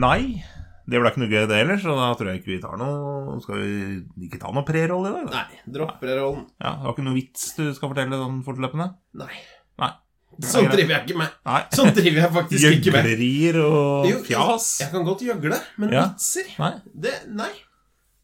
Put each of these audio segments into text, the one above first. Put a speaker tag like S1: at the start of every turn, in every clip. S1: Nei. Det ble ikke noe gøy, det heller, så da tror jeg ikke vi tar noe Skal vi ikke ta noe preroll i dag? Da?
S2: Nei, dropp prerollen.
S1: Ja, det var ikke noe vits du skal fortelle sånn fortløpende?
S2: Nei.
S1: Nei.
S2: Sånn driver jeg ikke med.
S1: Nei.
S2: Sånn driver jeg faktisk ikke med.
S1: Gjøglerier og
S2: Jo,
S1: fjas.
S2: Jeg kan godt gjøgle, men
S1: Ja.
S2: vitser
S1: Nei.
S2: det, Nei.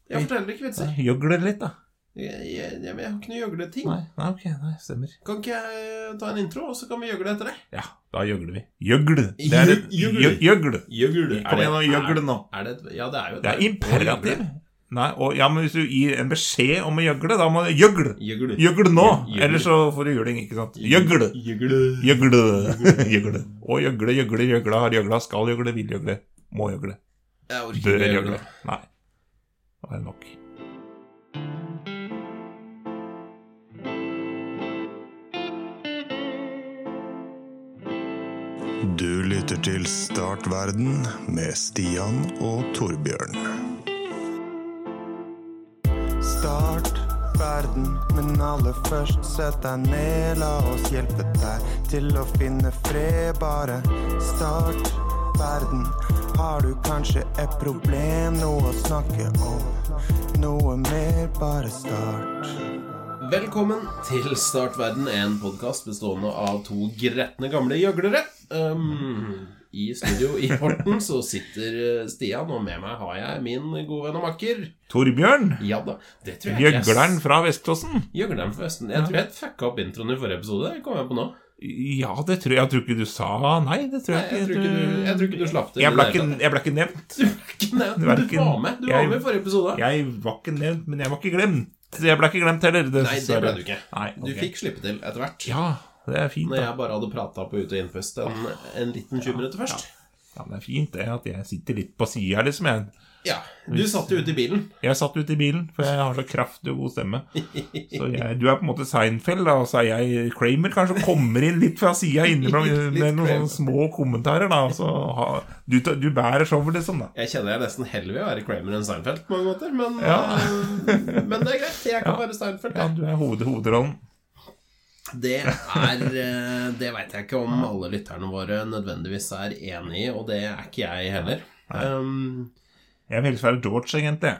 S2: Jeg forteller ikke vitser.
S1: nei, Gjøgle litt, da.
S2: Jeg, jeg, jeg, jeg har ikke noe gjøgleting.
S1: Nei, nei, ok, nei, stemmer.
S2: Kan ikke jeg ta en intro, og så kan vi gjøgle etter det?
S1: Ja, da gjøgler vi. Gjøgl! Det
S2: Gjø-
S1: er et
S2: gjøgl.
S1: gjø- Gjøgl.
S2: Gjøgle
S1: Kom igjen og gjøgl nå.
S2: Er det et, ja, det er jo et
S1: Det er
S2: Gjøgle.
S1: imperativ. Nei, og, ja, men hvis du gir en beskjed om å gjøgle, da må du Gjøgl!
S2: Gjøgle.
S1: Gjøgl nå!
S2: Gjøgl.
S1: Ellers så får du juling, ikke sant? Gjøgl!
S2: Gjøgle.
S1: Gjøgle. gjøgle. Og gjøgle, gjøgle, gjøgla, har gjøgla, skal gjøgle, vil gjøgle, må gjøgle,
S2: Jeg orker
S1: bør
S2: ikke
S1: gjøgle. Nei. Da er det nok.
S3: Du lytter til Startverden med Stian og Torbjørn. Start verden, men aller først sett deg ned. La oss hjelpe deg til å finne fred. Bare start verden. Har du kanskje et problem, noe å snakke om? Noe mer, bare start.
S2: Velkommen til Start verden, en podkast bestående av to gretne gamle gjøglere. Um, I studio i Horten så sitter eh, Stian, og med meg har jeg min gode venn og makker.
S1: Torbjørn,
S2: Ja da, det tror jeg ikke
S1: gjøgleren
S2: jeg
S1: fra Veståsen.
S2: Gjøgleren forresten. Jeg tror jeg fucka opp introen i forrige episode. Det kom jeg på nå.
S1: Ja, det tror jeg, jeg tror ikke du sa nei. Det tror
S2: Nei,
S1: jeg,
S2: jeg, tror ikke du, jeg tror ikke du slapp til.
S1: Jeg
S2: i
S1: ble
S2: det
S1: ikke,
S2: hele
S1: jeg ble ikke nevnt.
S2: tatt. Du, ble ikke nevnt. du
S1: Hverken-
S2: var med Du var
S1: jeg-
S2: med i forrige episode.
S1: Jeg var ikke nevnt, men jeg var ikke glemt. Jeg ble ikke glemt heller.
S2: Nei, det ble du ikke.
S1: Nei,
S2: Du
S1: ok.
S2: fikk slippe til etter hvert.
S1: Ja, det er fint.
S2: Når
S1: Da.
S2: jeg bare hadde prata på ut- og innpust en, en liten 20 minutter først.
S1: Ja, men det er fint det at jeg sitter litt på sida, liksom. Jeg
S2: Ja. Du satt jo ute i bilen.
S1: Jeg satt ute i bilen, for jeg har så kraftig og god stemme. Så jeg, du er på en måte Seinfeld, da, og så er jeg Kramer. Kanskje kommer inn litt fra sida innimellom
S2: Litt
S1: med noen
S2: Kramer.
S1: sånne små kommentarer. da og så ha, du, ta- du bærer showet, liksom. da
S2: Jeg kjenner jeg nesten heller vil være Kramer enn Seinfeld på mange måter, men,
S1: Ja.
S2: eh, men det er greit. Jeg kan være Seinfeld.
S1: Ja,
S2: jeg.
S1: Du er hoved, hovedrollen.
S2: Det er eh, Det veit jeg ikke om alle lytterne våre nødvendigvis er enig i, og det er ikke jeg heller. Um,
S1: Jeg vil helst være George, egentlig.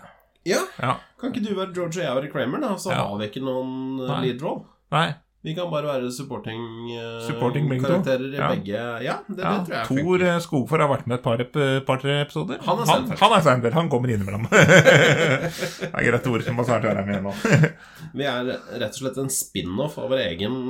S2: ja,
S1: Ja,
S2: kan ikke du være George og jeg være Kramer, da? Så
S1: Ja.
S2: har vi ikke noen eh,
S1: Nei.
S2: lead role.
S1: Nei,
S2: Vi kan bare være supporting, eh,
S1: Supporting begge to.
S2: karakterer i
S1: Ja.
S2: begge Ja, det,
S1: ja.
S2: det tror jeg
S1: Tor
S2: funker.
S1: eh, Skogfor har vært med et par-tre par, tre episoder.
S2: Han er
S1: han,
S2: Seinfeld.
S1: han er Seinfeld. Han kommer innimellom. det er greit, Tor. Som må snart være med nå.
S2: Vi er rett og slett en spin-off av vår egen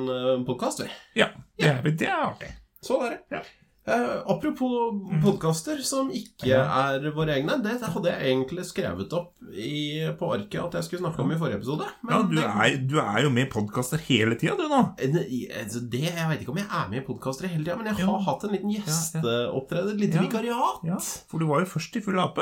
S2: podkast, vi.
S1: ja, det er, det er artig.
S2: Sånn er det.
S1: Ja. Mhm.
S2: Eh, apropos podkaster som ikke er våre egne. Det hadde jeg egentlig skrevet opp i, på arket at jeg skulle snakke om i forrige episode.
S1: Ja, du
S2: det,
S1: er, du er jo med i podkaster hele tida, du nå.
S2: En- i- altså, det, Jeg veit ikke om jeg er med i podkaster hele tida, men jeg har
S1: Ja.
S2: hatt en liten
S1: Ja, ja.
S2: gjesteopptreden. Et lite
S1: Ja.
S2: vikariat.
S1: Ja, for du var jo først i full ape.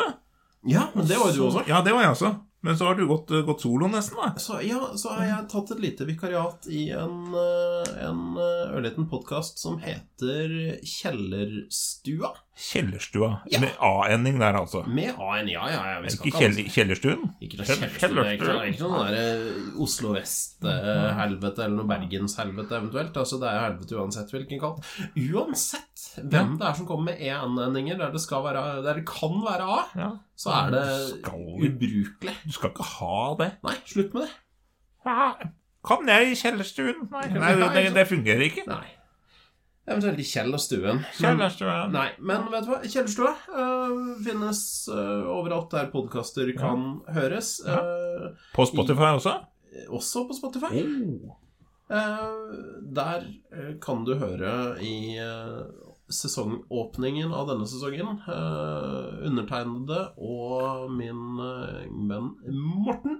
S2: Ja, men det var jo du også.
S1: Ja, det var jeg også. Men så har du gått, eh, gått solo nesten, da.
S2: Så, ja, så har jeg tatt et lite vikariat i en, eh, en eh, ørliten podkast som heter Kjellerstua.
S1: Kjellerstua.
S2: Ja.
S1: Med A-ending der, altså.
S2: Med A-en. Ja, ja, ja. Vi skal
S1: Ikke
S2: ikke ha
S1: kjell, kjellerstuen?
S2: Ikke noe kjellestue, det er ikke noe- ikke noe der, eh, Oslo Vest-helvete eller noe Bergens-helvete eventuelt. Altså, det er helvete uansett hvilken kant. Uansett hvem det er som kommer med en-endinger der det, skal være, der det kan være A,
S1: Ja.
S2: så er det
S1: Skal vi-
S2: ubrukelig.
S1: Du skal ikke ha det.
S2: Nei, slutt med det.
S1: Ja, Kom ned i kjellerstuen. Nei, nei det, det, det fungerer ikke.
S2: Nei. Eventuelt i Kjell og Stuen. Men,
S1: Kjellerstua.
S2: nei, men vet du hva? Kjellerstua eh, finnes eh, overalt der podkaster kan høres. eh,
S1: På Spotify også?
S2: også på Spotify.
S1: Oh.
S2: Eh, der eh, kan du høre i eh, sesongåpningen av denne sesongen eh, undertegnede og min eh, venn Morten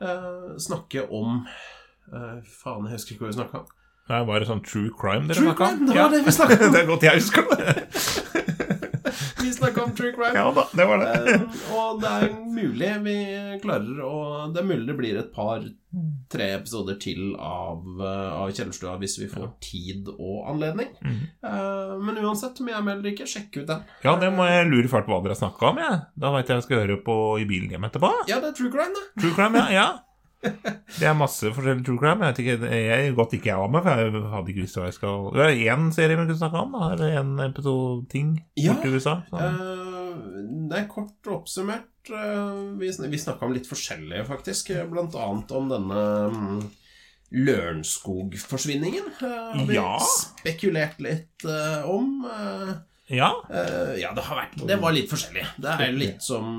S2: eh, snakke om eh, Faen, jeg husker ikke hva vi snakka om.
S1: Nei, var det sånn true crime dere
S2: True
S1: snakka
S2: crime, det var det vi snakket om.
S1: det er godt jeg husker det.
S2: Vi snakka om true crime.
S1: Ja da, det var det.
S2: Eh, og det er mulig vi klarer å Det er mulig det blir et par-tre episoder til av, eh, av Kjellerstua hvis vi får tid og anledning. Eh, men uansett om jeg er med eller ikke, sjekk ut den.
S1: Ja, det må jeg lure fælt hva dere har snakka om, jeg. Da veit jeg jeg skal høre på i bilen hjem etterpå.
S2: Ja, det er true crime, det.
S1: True crime, ja. ja. Det er masse forskjellig true crime. Jeg vet ikke, jeg godt ikke jeg var med, for jeg hadde ikke visst hva jeg skal Det er én serie vi kunne snakke om, da. Eller én episode ting
S2: Ja.
S1: borti USA. Så.
S2: Eh, det er kort oppsummert. eh, Vi, sn- vi snakka om litt forskjellige, faktisk. eh, Blant annet om denne mm, Lørenskog-forsvinningen. eh, Har vi
S1: Ja.
S2: spekulert litt eh, om. eh,
S1: Ja.
S2: Eh, ja, det har vært Det var litt forskjellig. Det er jo litt som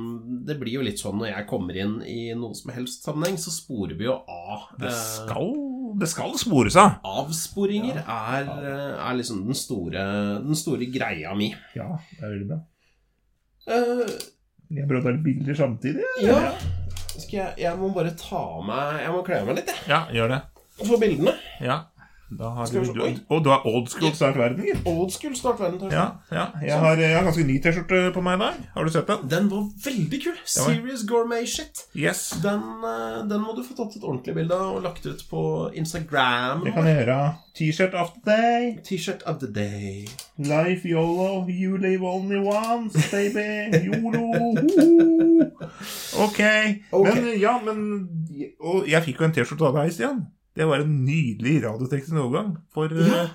S2: Det blir jo litt sånn når jeg kommer inn i noen som helst sammenheng, så sporer vi jo av.
S1: Det
S2: Eh,
S1: skal, det skal spores av.
S2: avsporinger er, eh, er liksom den store, den store greia mi.
S1: Ja, det er veldig bra.
S2: Eh,
S1: Jeg prøvde å ta bilder samtidig.
S2: ja Skal jeg, jeg må bare ta av meg Jeg må kle av meg litt, jeg.
S1: Ja, gjør det.
S2: For bildene.
S1: Ja. Da har
S2: Skal
S1: du,
S2: vi se-
S1: du,
S2: Oi.
S1: og du har old school snart verden, gitt.
S2: Old school start verden. tar-
S1: Ja, ja. Jeg har, jeg har ganske ny T-skjorte på meg i dag. Har du sett den?
S2: Den var veldig kul.
S1: var-
S2: Serious gourmet shit.
S1: Yes.
S2: Den, eh, den må du få tatt et ordentlig bilde av og lagt ut på Instagram.
S1: Det kan jeg gjøre. T-shirt of the day.
S2: T-shirt of the day.
S1: Life yolo, you live only once, baby. Yolo. Woo. Ok.
S2: Ok.
S1: Men, ja, men Og jeg fikk jo en T-skjorte av deg, Stian. Det var en nydelig radioteknisk overgang. For
S2: Ja.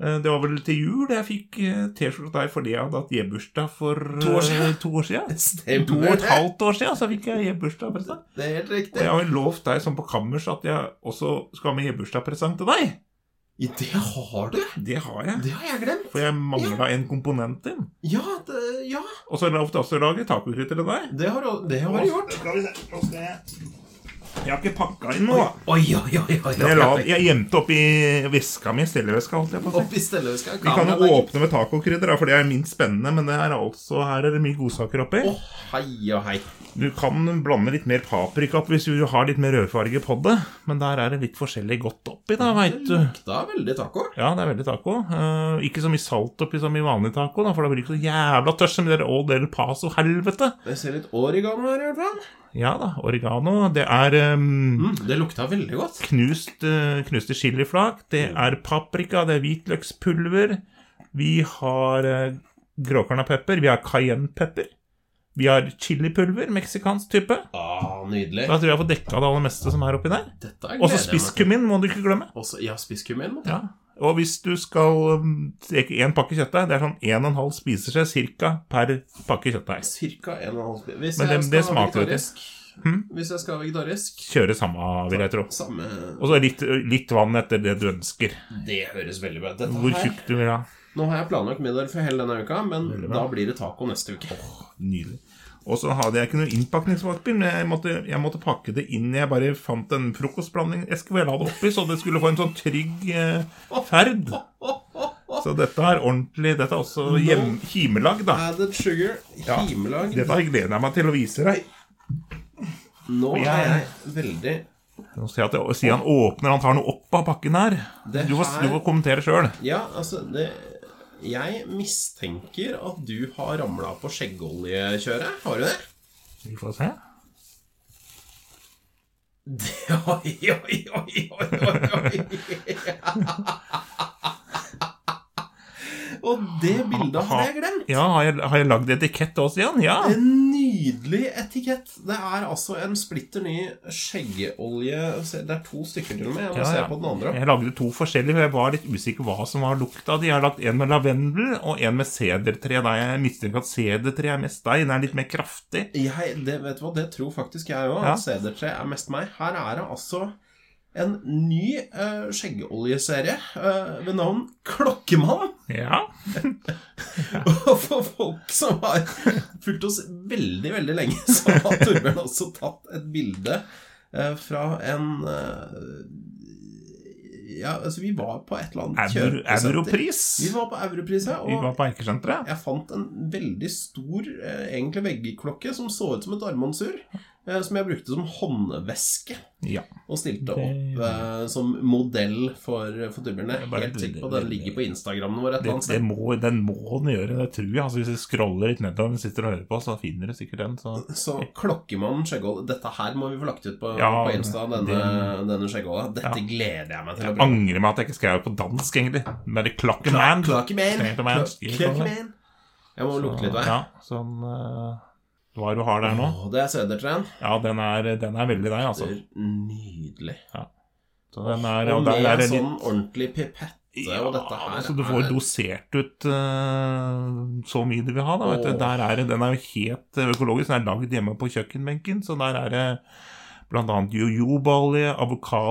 S1: eh, det var vel til jul jeg fikk eh, T-skjorte av deg fordi jeg hadde hatt J-bursdag for
S2: To år siden.
S1: eh, to år siden.
S2: Stemmer.
S1: To og et halvt år siden så fikk jeg J-bursdagspresang.
S2: Det er helt
S1: Og
S2: riktig.
S1: jeg har jo lovt deg som på kammers at jeg også skal ha med J-bursdagspresang til deg.
S2: I Det har du!
S1: Det har jeg.
S2: Det har jeg glemt.
S1: For jeg mangla en komponent til.
S2: Ja, det, ja,
S1: Og så har jeg lovt også å lage tacokrytter til deg.
S2: det har du det har du gjort.
S1: Skal vi se, nå skal jeg Jeg har ikke pakka inn noe.
S2: Oi, oi, oi. oi,
S1: Jeg, la,
S2: oi.
S1: jeg gjemte oppi veska mi, stelleveska, holdt jeg på å si.
S2: Opp i stelleveska.
S1: Vi kan jo åpne med tacokrydder, da, for det er minst spennende. Men det er altså, her er det mye godsaker oppi.
S2: Å, hei og hei.
S1: Du kan blande litt mer paprika opp hvis du har litt mer rødfarge på det. Men der er det litt forskjellig godt oppi, da,
S2: Det
S1: veit du.
S2: lukta veldig taco.
S1: Ja, det er veldig taco. Eh, ikke så mye salt oppi som i vanlig taco, da, for da blir det ikke så jævla tørst som i det der Old El Paso-helvete.
S2: Jeg ser litt oregano her i hvert fall.
S1: Ja da, oregano. Det er ehm,
S2: Mm, det lukta veldig godt.
S1: knust, eh, knuste chiliflak. Det er paprika. Det er hvitløkspulver. Vi har uh, gråkarna pepper. Vi har cayennepepper. Vi har chilipulver, meksikansk type.
S2: Ah, nydelig.
S1: Da tror jeg jeg får dekka det aller meste som er oppi der.
S2: Dette er
S1: Og så
S2: gleder jeg meg til.
S1: spisskummin må du ikke glemme.
S2: Også, ja, spisskummin.
S1: Ja. Og hvis du skal ehm, steke én pakke kjøttdeig, det er sånn 1,5 spiseskje cirka per pakke kjøttdeig.
S2: Cirka en og en halv spi- Hvis
S1: Men
S2: jeg
S1: det-
S2: skal
S1: det
S2: ha
S1: smaker jo
S2: vegetarisk
S1: Hm?
S2: Hvis jeg skal ha vegetarisk
S1: Kjøre samme, vil jeg tro.
S2: Samme
S1: Og så litt, litt vann etter det du ønsker.
S2: Det høres veldig bra ut. Dette
S1: Hvor
S2: her-
S1: tjukk du vil ha.
S2: Nå har jeg planlagt middag for hele denne uka, men da blir det taco neste uke.
S1: Nydelig. Og så hadde jeg ikke noe innpakningspapir, men jeg måtte, jeg måtte pakke det inn. Jeg bare fant en frokostblanding. Jeg skulle vel ha det oppi, så det skulle få en sånn trygg eh, ferd. Så dette er ordentlig Dette er også hjem, himelag, da.
S2: Added sugar,
S1: Ja.
S2: himelag
S1: Dette gleder jeg meg til å vise deg.
S2: Nå
S1: Og
S2: er
S1: jeg-
S2: jeg veldig
S1: Nå ser jeg at jeg, sier han åpner, han tar noe opp av pakken her.
S2: Det
S1: Du får,
S2: her-
S1: du får kommentere sjøl.
S2: Ja, altså det, Jeg mistenker at du har ramla på skjeggoljekjøret. Har du det?
S1: Vi får se.
S2: det oi, oi, oi, oi, oi, oi. Og det bildet hadde jeg glemt.
S1: Ja, har jeg, har jeg lagd etikett også, Stian? Ja.
S2: En nydelig etikett. Det er altså en splitter ny skjeggeolje Se, Det er to stykker til og med. Jeg må
S1: Ja,
S2: se
S1: ja.
S2: på den andre.
S1: Jeg lagde to forskjellige, for jeg var litt usikker hva som var lukta av de. Jeg har lagt en med lavendel og en med sedertre. Da jeg mistenker at sedertre er mest deg. Den er litt mer kraftig.
S2: Jeg, det, vet du hva, det tror faktisk jeg òg.
S1: Ja.
S2: At Cedertre er mest meg. Her er det altså en ny eh, skjeggeoljeserie eh, ved navn Klokkemann.
S1: Ja.
S2: Og for folk som har fulgt oss veldig, veldig lenge, så har Torbjørn også tatt et bilde eh, fra en eh, Ja, altså, vi var på et eller annet
S1: Euro,
S2: kjøpesenter.
S1: Europris.
S2: Vi var på Europris, ja.
S1: Vi
S2: Og
S1: var på Eikesenteret.
S2: jeg fant en veldig stor eh, egentlig veggklokke som så ut som et armbåndsur. eh, Som jeg brukte som håndveske
S1: Ja.
S2: og stilte
S1: Det-
S2: opp eh, som modell for, for Torbjørn.
S1: Det
S2: Jeg
S1: er
S2: er
S1: bare
S2: Helt sikker på at
S1: veldig-
S2: den ligger på Instagrammen vår et
S1: Det,
S2: eller annet
S1: det
S2: sted.
S1: må, den må den gjøre, det tror jeg. Altså, hvis du scroller litt nedover og sitter og hører på, så finner du sikkert den. Så.
S2: Så Klokkemannen Skjegghold Dette her må vi få lagt ut på,
S1: Ja,
S2: på Insta, denne,
S1: det-
S2: denne Skjeggholda. Dette gleder jeg meg til å bruke.
S1: Angrer meg at jeg ikke skrev på dansk, egentlig. Men det er Clockerman.
S2: Klokkemann! Klokkemann!
S1: Klokkemann, skriver vi
S2: Klokkemann. Jeg må lukte litt
S1: Ja,
S2: der.
S1: sånn eh, Hva er det du har der nå?
S2: Åh, det er Cedertren.
S1: Ja, den er, den er veldig deg, altså.
S2: Nydelig.
S1: Så den er,
S2: Og
S1: og der
S2: med
S1: er det litt
S2: en sånn ordentlig pipett og dette her
S1: altså, du får
S2: er-
S1: dosert ut eh, så mye du vil ha. Da, vet
S2: Åh.
S1: du. Der er det, den er jo helt eh, økologisk. Den er lagd hjemme på kjøkkenbenken. Så der er det bl.a. jojobaolje,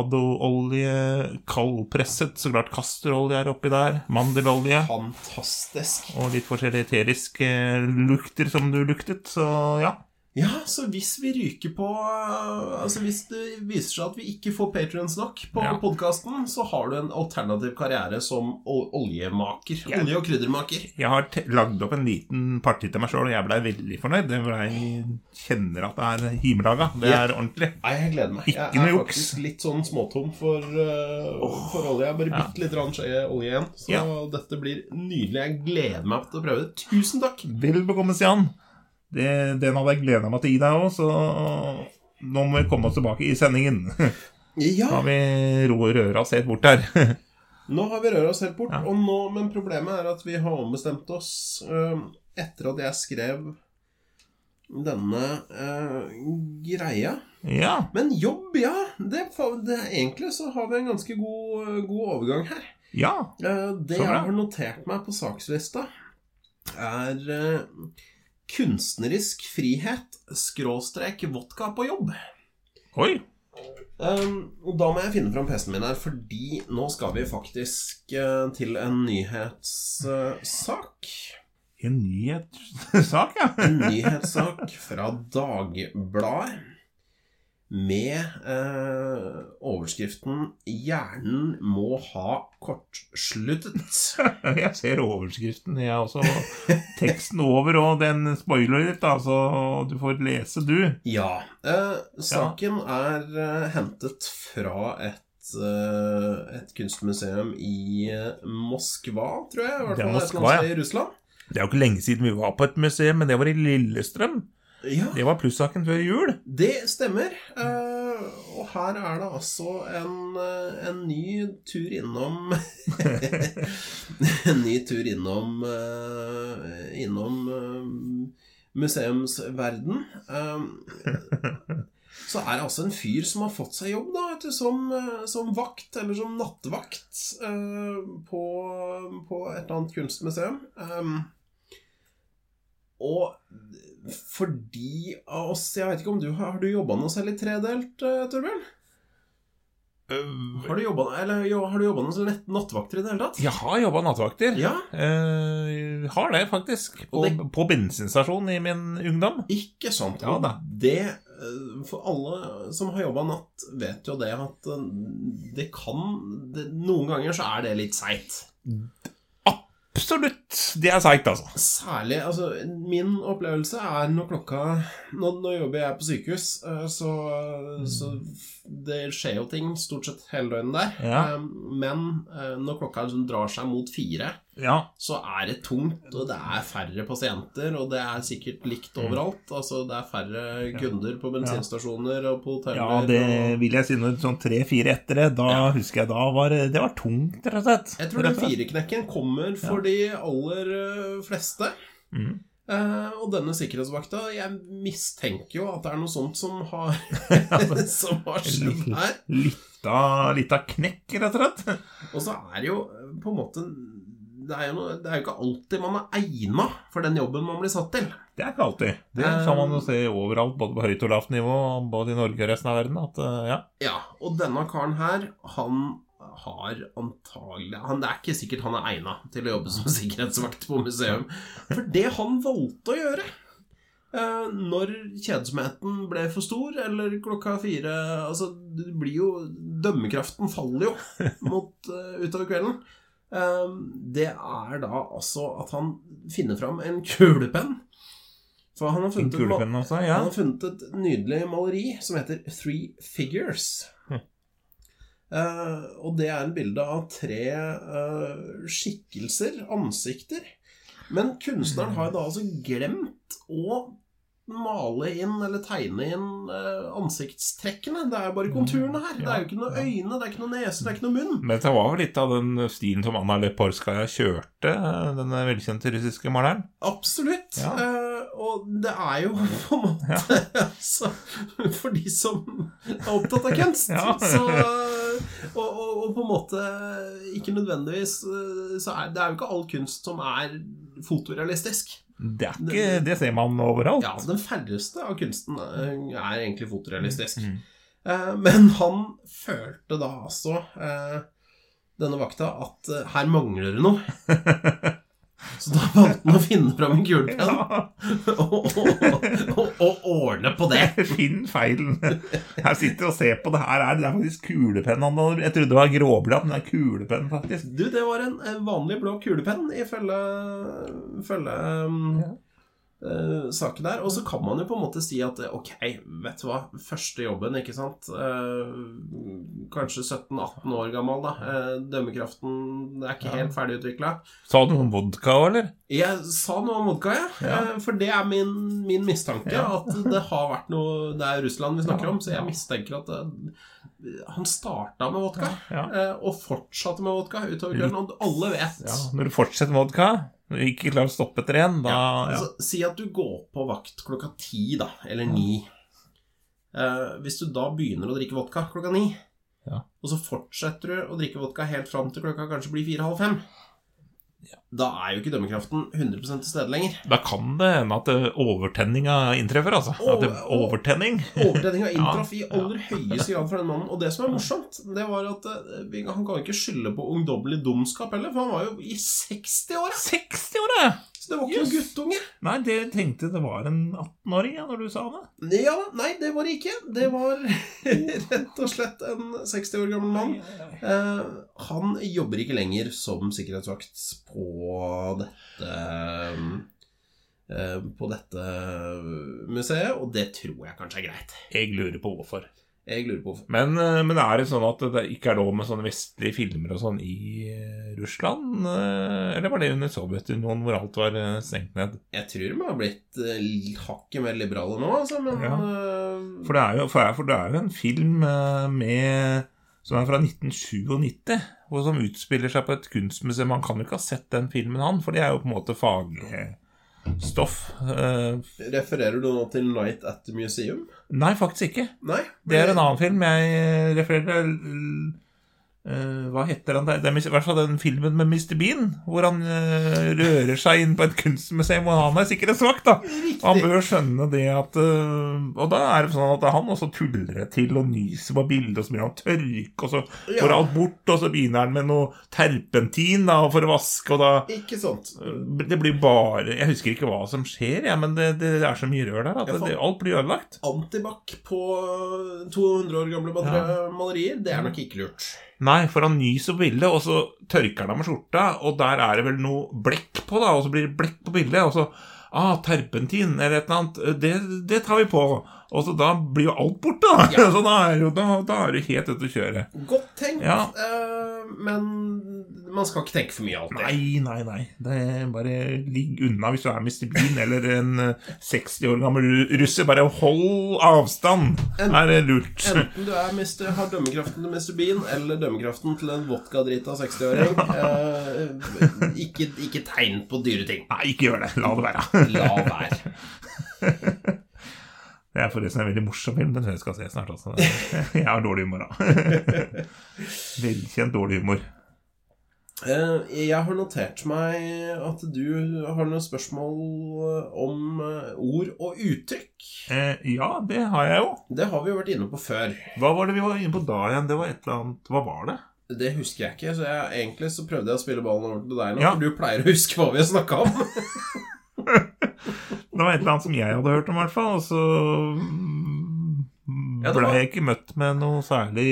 S1: avokadoolje, kaldpresset, så klart kasterolje er oppi der, mandelolje.
S2: Fantastisk.
S1: Og litt forskjellige eteriske eh, lukter som du luktet, så ja.
S2: Ja, så hvis vi ryker på eh, Altså hvis det viser seg at vi ikke får patrions nok på
S1: Ja.
S2: podkasten, så har du en alternativ karriere som ol- oljemaker. Olje- og kryddermaker.
S1: Jeg har te- lagd opp en liten parti til meg sjøl, og jeg blei veldig fornøyd. Det ble, jeg kjenner at det er himelaga. Det
S2: Ja.
S1: er ordentlig.
S2: Nei, jeg gleder meg.
S1: Ikke
S2: Jeg
S1: noe
S2: er
S1: juks.
S2: faktisk litt sånn småtom for, eh, for olje. Jeg bare bitte litt rann skje olje igjen. Så
S1: Ja.
S2: dette blir nydelig. Jeg gleder meg til å prøve det. Tusen takk!
S1: Vel bekomme, Stian. Det, den hadde jeg gleda meg til å gi deg òg, så nå må vi komme oss tilbake i sendingen. Da
S2: Ja,
S1: har vi ro røra oss helt bort her.
S2: Nå har vi røra oss helt bort,
S1: Ja.
S2: og nå, men problemet er at vi har ombestemt oss øhm, etter at jeg skrev denne øh, greia.
S1: Ja.
S2: Men jobb, ja. Det, fa- det, egentlig så har vi en ganske god, øh, god overgang her.
S1: Ja.
S2: Eh, det
S1: Så
S2: jeg
S1: bra.
S2: har notert meg på sakslista, er eh, kunstnerisk frihet, skråstrek, vodka på jobb.
S1: Oi.
S2: Um, og da må jeg finne fram PC-en min her, fordi nå skal vi faktisk eh, til en nyhetssak.
S1: En nyhetssak, ja.
S2: en nyhetssak fra Dagbladet med eh, overskriften 'Hjernen må ha kortsluttet'.
S1: Jeg ser overskriften, jeg også. Teksten over og den spoiler litt, da, så du får lese, du.
S2: Ja. Eh, saken er eh, hentet fra et, eh, et kunstmuseum i eh, Moskva, tror jeg. I hvert
S1: Det er
S2: fall et eller
S1: Moskva,
S2: annet
S1: ja.
S2: sted i Russland.
S1: Det er jo ikke lenge siden vi var på et museum, men det var i Lillestrøm.
S2: Ja,
S1: Det var plussaken før jul.
S2: det stemmer. Eh, og her er det altså en, eh, en ny tur innom En ny tur innom eh, innom eh, museumsverden. Eh, så er det altså en fyr som har fått seg jobb da, vet du, som, eh, som vakt, eller som nattevakt, eh, på, på et eller annet kunstmuseum. Eh, og for de av oss Jeg vet ikke om du har, har du jobba noe særlig tredelt, eh, Torbjørn? Har du jobba eller jo, har du jobbet noe sånn nett, nattevakter i det hele tatt?
S1: Jeg har jobba nattevakter.
S2: Ja,
S1: Eh, har det, faktisk. På,
S2: Og det-
S1: på bensinstasjon i min ungdom.
S2: ikke sant.
S1: Ja da.
S2: Og Det, eh, for alle som har jobba natt, vet jo det at eh, det kan det, Noen ganger så er det litt seigt.
S1: Absolutt! Det er seigt, altså.
S2: Særlig Altså, min opplevelse er når klokka Nå, nå jobber jeg på sykehus, eh, så, så
S1: Mm.
S2: det skjer jo ting stort sett hele døgnet der.
S1: Ja.
S2: Eh, Men eh, når klokka liksom drar seg mot fire,
S1: Ja.
S2: så er det tungt, og det er færre pasienter, og det er sikkert likt
S1: Mm.
S2: overalt. Altså, det er færre kunder på bensinstasjoner og på hoteller.
S1: ja, det
S2: og...
S1: vil jeg si når sånn tre-fire etter det. Da husker jeg da var det- Det var tungt, rett og slett.
S2: Jeg tror
S1: Rett
S2: den
S1: og slett.
S2: fireknekken kommer for de aller øh, fleste.
S1: Mhm.
S2: Eh, og denne sikkerhetsvakta Jeg mistenker jo at det er noe sånt som har, som har skjedd her.
S1: Litt av, litt av knekk, rett og slett.
S2: Og så er det jo eh, på en måte Det er jo, noe, det er jo ikke alltid man er egna for den jobben man blir satt til.
S1: Det er ikke alltid. Det kan man jo se overalt, både på høyt og lavt nivå, både i Norge og resten av verden. At, eh, ja.
S2: Ja, og denne karen her, han har antagelig han, Det er ikke sikkert han er egna til å jobbe som
S1: Mm.
S2: sikkerhetsvakt på museum. For det han valgte å gjøre eh, når kjedsomheten ble for stor, eller klokka fire Altså, det blir jo Dømmekraften faller jo mot, eh, utover kvelden. Eh, det er da altså at han finner fram en kulepenn. For han har
S1: En
S2: funnet ut hva-
S1: kulepenn også, ja.
S2: han har funnet et nydelig maleri som heter Three Figures.
S1: Hm.
S2: Eh, og det er et bilde av tre eh, skikkelser, ansikter. Men kunstneren har jo da altså glemt å male inn eller tegne inn eh, ansiktstrekkene. Det er bare konturene her. Det er jo ikke noe øyne, det er ikke noe nese, det er ikke noe munn.
S1: Men det var vel litt av den stilen som Anna Leporskaja kjørte, denne velkjente eh, russiske maleren.
S2: Absolutt.
S1: Ja.
S2: Eh, og det er jo på en måte altså, For de som er opptatt av kunst,
S1: Ja.
S2: så eh, og, og, og på en måte ikke nødvendigvis eh, så er, Det er jo ikke all kunst som er fotorealistisk.
S1: Det, er ikke, det ser man overalt.
S2: Ja, den færreste av kunsten eh, er egentlig fotorealistisk.
S1: Mm,
S2: Eh, Men han følte da altså, eh, denne vakta, at eh, her mangler det noe. Så da valgte han å finne fram en kulepenn
S1: Ja,
S2: og, og, og, og ordne på det.
S1: Finn feilen. Jeg sitter og ser på det her. er- Det er faktisk kulepenn. han hadde- Jeg trodde det var gråblad, men det er kulepenn, faktisk.
S2: Du, det var en en vanlig blå kulepenn ifølge følge, um, eh, saken der. Og så kan man jo på en måte si at eh, ok, vet du hva, første jobben, ikke sant. Eh, kanskje 17-18 år gammel, da. Eh, dømmekraften er ikke helt ferdigutvikla.
S1: Sa du noe om vodka òg, eller?
S2: Jeg sa noe om vodka, jeg.
S1: Ja.
S2: Eh, For det er min, min mistanke. At det har vært noe Det er Russland vi snakker om, så jeg mistenker at eh, han starta med vodka.
S1: Ja.
S2: eh, Og fortsatte med vodka utover kvelden. Og alle vet.
S1: Ja, når du fortsetter med vodka, og ikke klarer å stoppe etter én, da ja.
S2: Altså, si at du går på vakt klokka ti, da. Eller ni. Eh, hvis du da begynner å drikke vodka klokka ni,
S1: Ja.
S2: og så fortsetter du å drikke vodka helt fram til klokka kanskje blir fire-halv fem, da er jo ikke dømmekraften 100 til stede lenger.
S1: Da kan det hende at eh, overtenninga inntreffer, altså. At det,
S2: Å, å.
S1: overtenning.
S2: Overtredninga inntraff i aller høyeste grad for den mannen. Og det som er morsomt, det var at eh, vi- han kan ikke skylde på ungdommelig dumskap heller, for han var jo i 60 år.
S1: 60 år, ja!
S2: Så det var ikke noen guttunge.
S1: Nei, det tenkte det var en 18-åring ja, når du sa det.
S2: Ja, nei, det var det ikke. Det var rett og slett en 60 år gammel mann. Eh, han jobber ikke lenger som sikkerhetsvakt på dette eh, På dette museet, og det tror jeg kanskje er greit.
S1: Jeg lurer på hvorfor.
S2: Jeg lurer på hvorfor.
S1: Men, eh, men er det sånn at det ikke er lov med sånne vestlige filmer og sånn i eh, Russland? eh, Eller var det under Sovjetunionen hvor alt var eh, stengt ned?
S2: Jeg tror de har blitt eh, hakket mer liberale nå, altså, men
S1: Ja.
S2: eh,
S1: For det er jo, for det er, for det er jo en film eh, med, som er fra 1997, og som utspiller seg på et kunstmuseum. Man kan jo ikke ha sett den filmen, han, for det er jo på en måte fagstoff. Eh,
S2: Refererer du nå til Night at the Museum?
S1: Nei, faktisk ikke.
S2: Nei.
S1: Det er en annen film jeg eh, refererer til. l- eh, hva heter den der? Det er mis- i hvert fall den filmen med Mr. Bean, hvor han eh, rører seg inn på et kunstmuseum, og han er sikkerhetsvakt, da. Og han bør skjønne det at eh, Og da er det sånn at han også tuller det til og nyser på bildet, og så begynner han å tørke, og så
S2: Ja.
S1: går alt bort, og så begynner han med noe terpentin da, for å vaske, og da
S2: Ikke sant.
S1: eh, det blir bare Jeg husker ikke hva som skjer, jeg, men det, det er så mye rør der at
S2: Ja, faen.
S1: det, alt blir ødelagt.
S2: Antibac på 200 år gamle mater- malerier, det
S1: Mm.
S2: er nok ikke lurt.
S1: Nei, for han nyser på bildet, og så tørker han av med skjorta, og der er det vel noe blekk på, da, og så blir det blekk på bildet, og så Ah, terpentin eller et eller annet. Det, det tar vi på. Og så da blir jo alt borte, da.
S2: Ja.
S1: Så da er jo da, da er du helt ute å kjøre.
S2: Godt tenkt,
S1: Ja.
S2: eh, men man skal ikke tenke for mye alltid.
S1: Nei, nei, nei. Det er bare ligg unna hvis du er Mr. Bean eller en eh, 60 år gammel ru- russer. Bare hold avstand.
S2: En-
S1: Er det lurt?
S2: Enten du er Mr. har dømmekraften til Mr. Bean, eller dømmekraften til en vodkadrita 60-åring. eh, ikke, ikke tegn på dyre ting.
S1: Nei, ikke gjør det. La det være.
S2: La være.
S1: Det er forresten en veldig morsom film. Den tror jeg skal se snart også. Jeg har dårlig humor, da. Velkjent dårlig humor.
S2: Eh, jeg har notert meg at du har noen spørsmål om eh, ord og uttrykk.
S1: Eh, ja, det har jeg jo.
S2: Det har vi jo vært inne på før.
S1: Hva var det vi var inne på da igjen? Det var et eller annet Hva var det?
S2: Det husker jeg ikke, så jeg, egentlig så prøvde jeg å spille ballen over til deg nå,
S1: Ja.
S2: for du pleier å huske hva vi har snakka om.
S1: Det var et eller annet som jeg hadde hørt om, i hvert fall. Og så mm,
S2: Ja, det
S1: ble
S2: var-
S1: jeg ikke møtt med noe særlig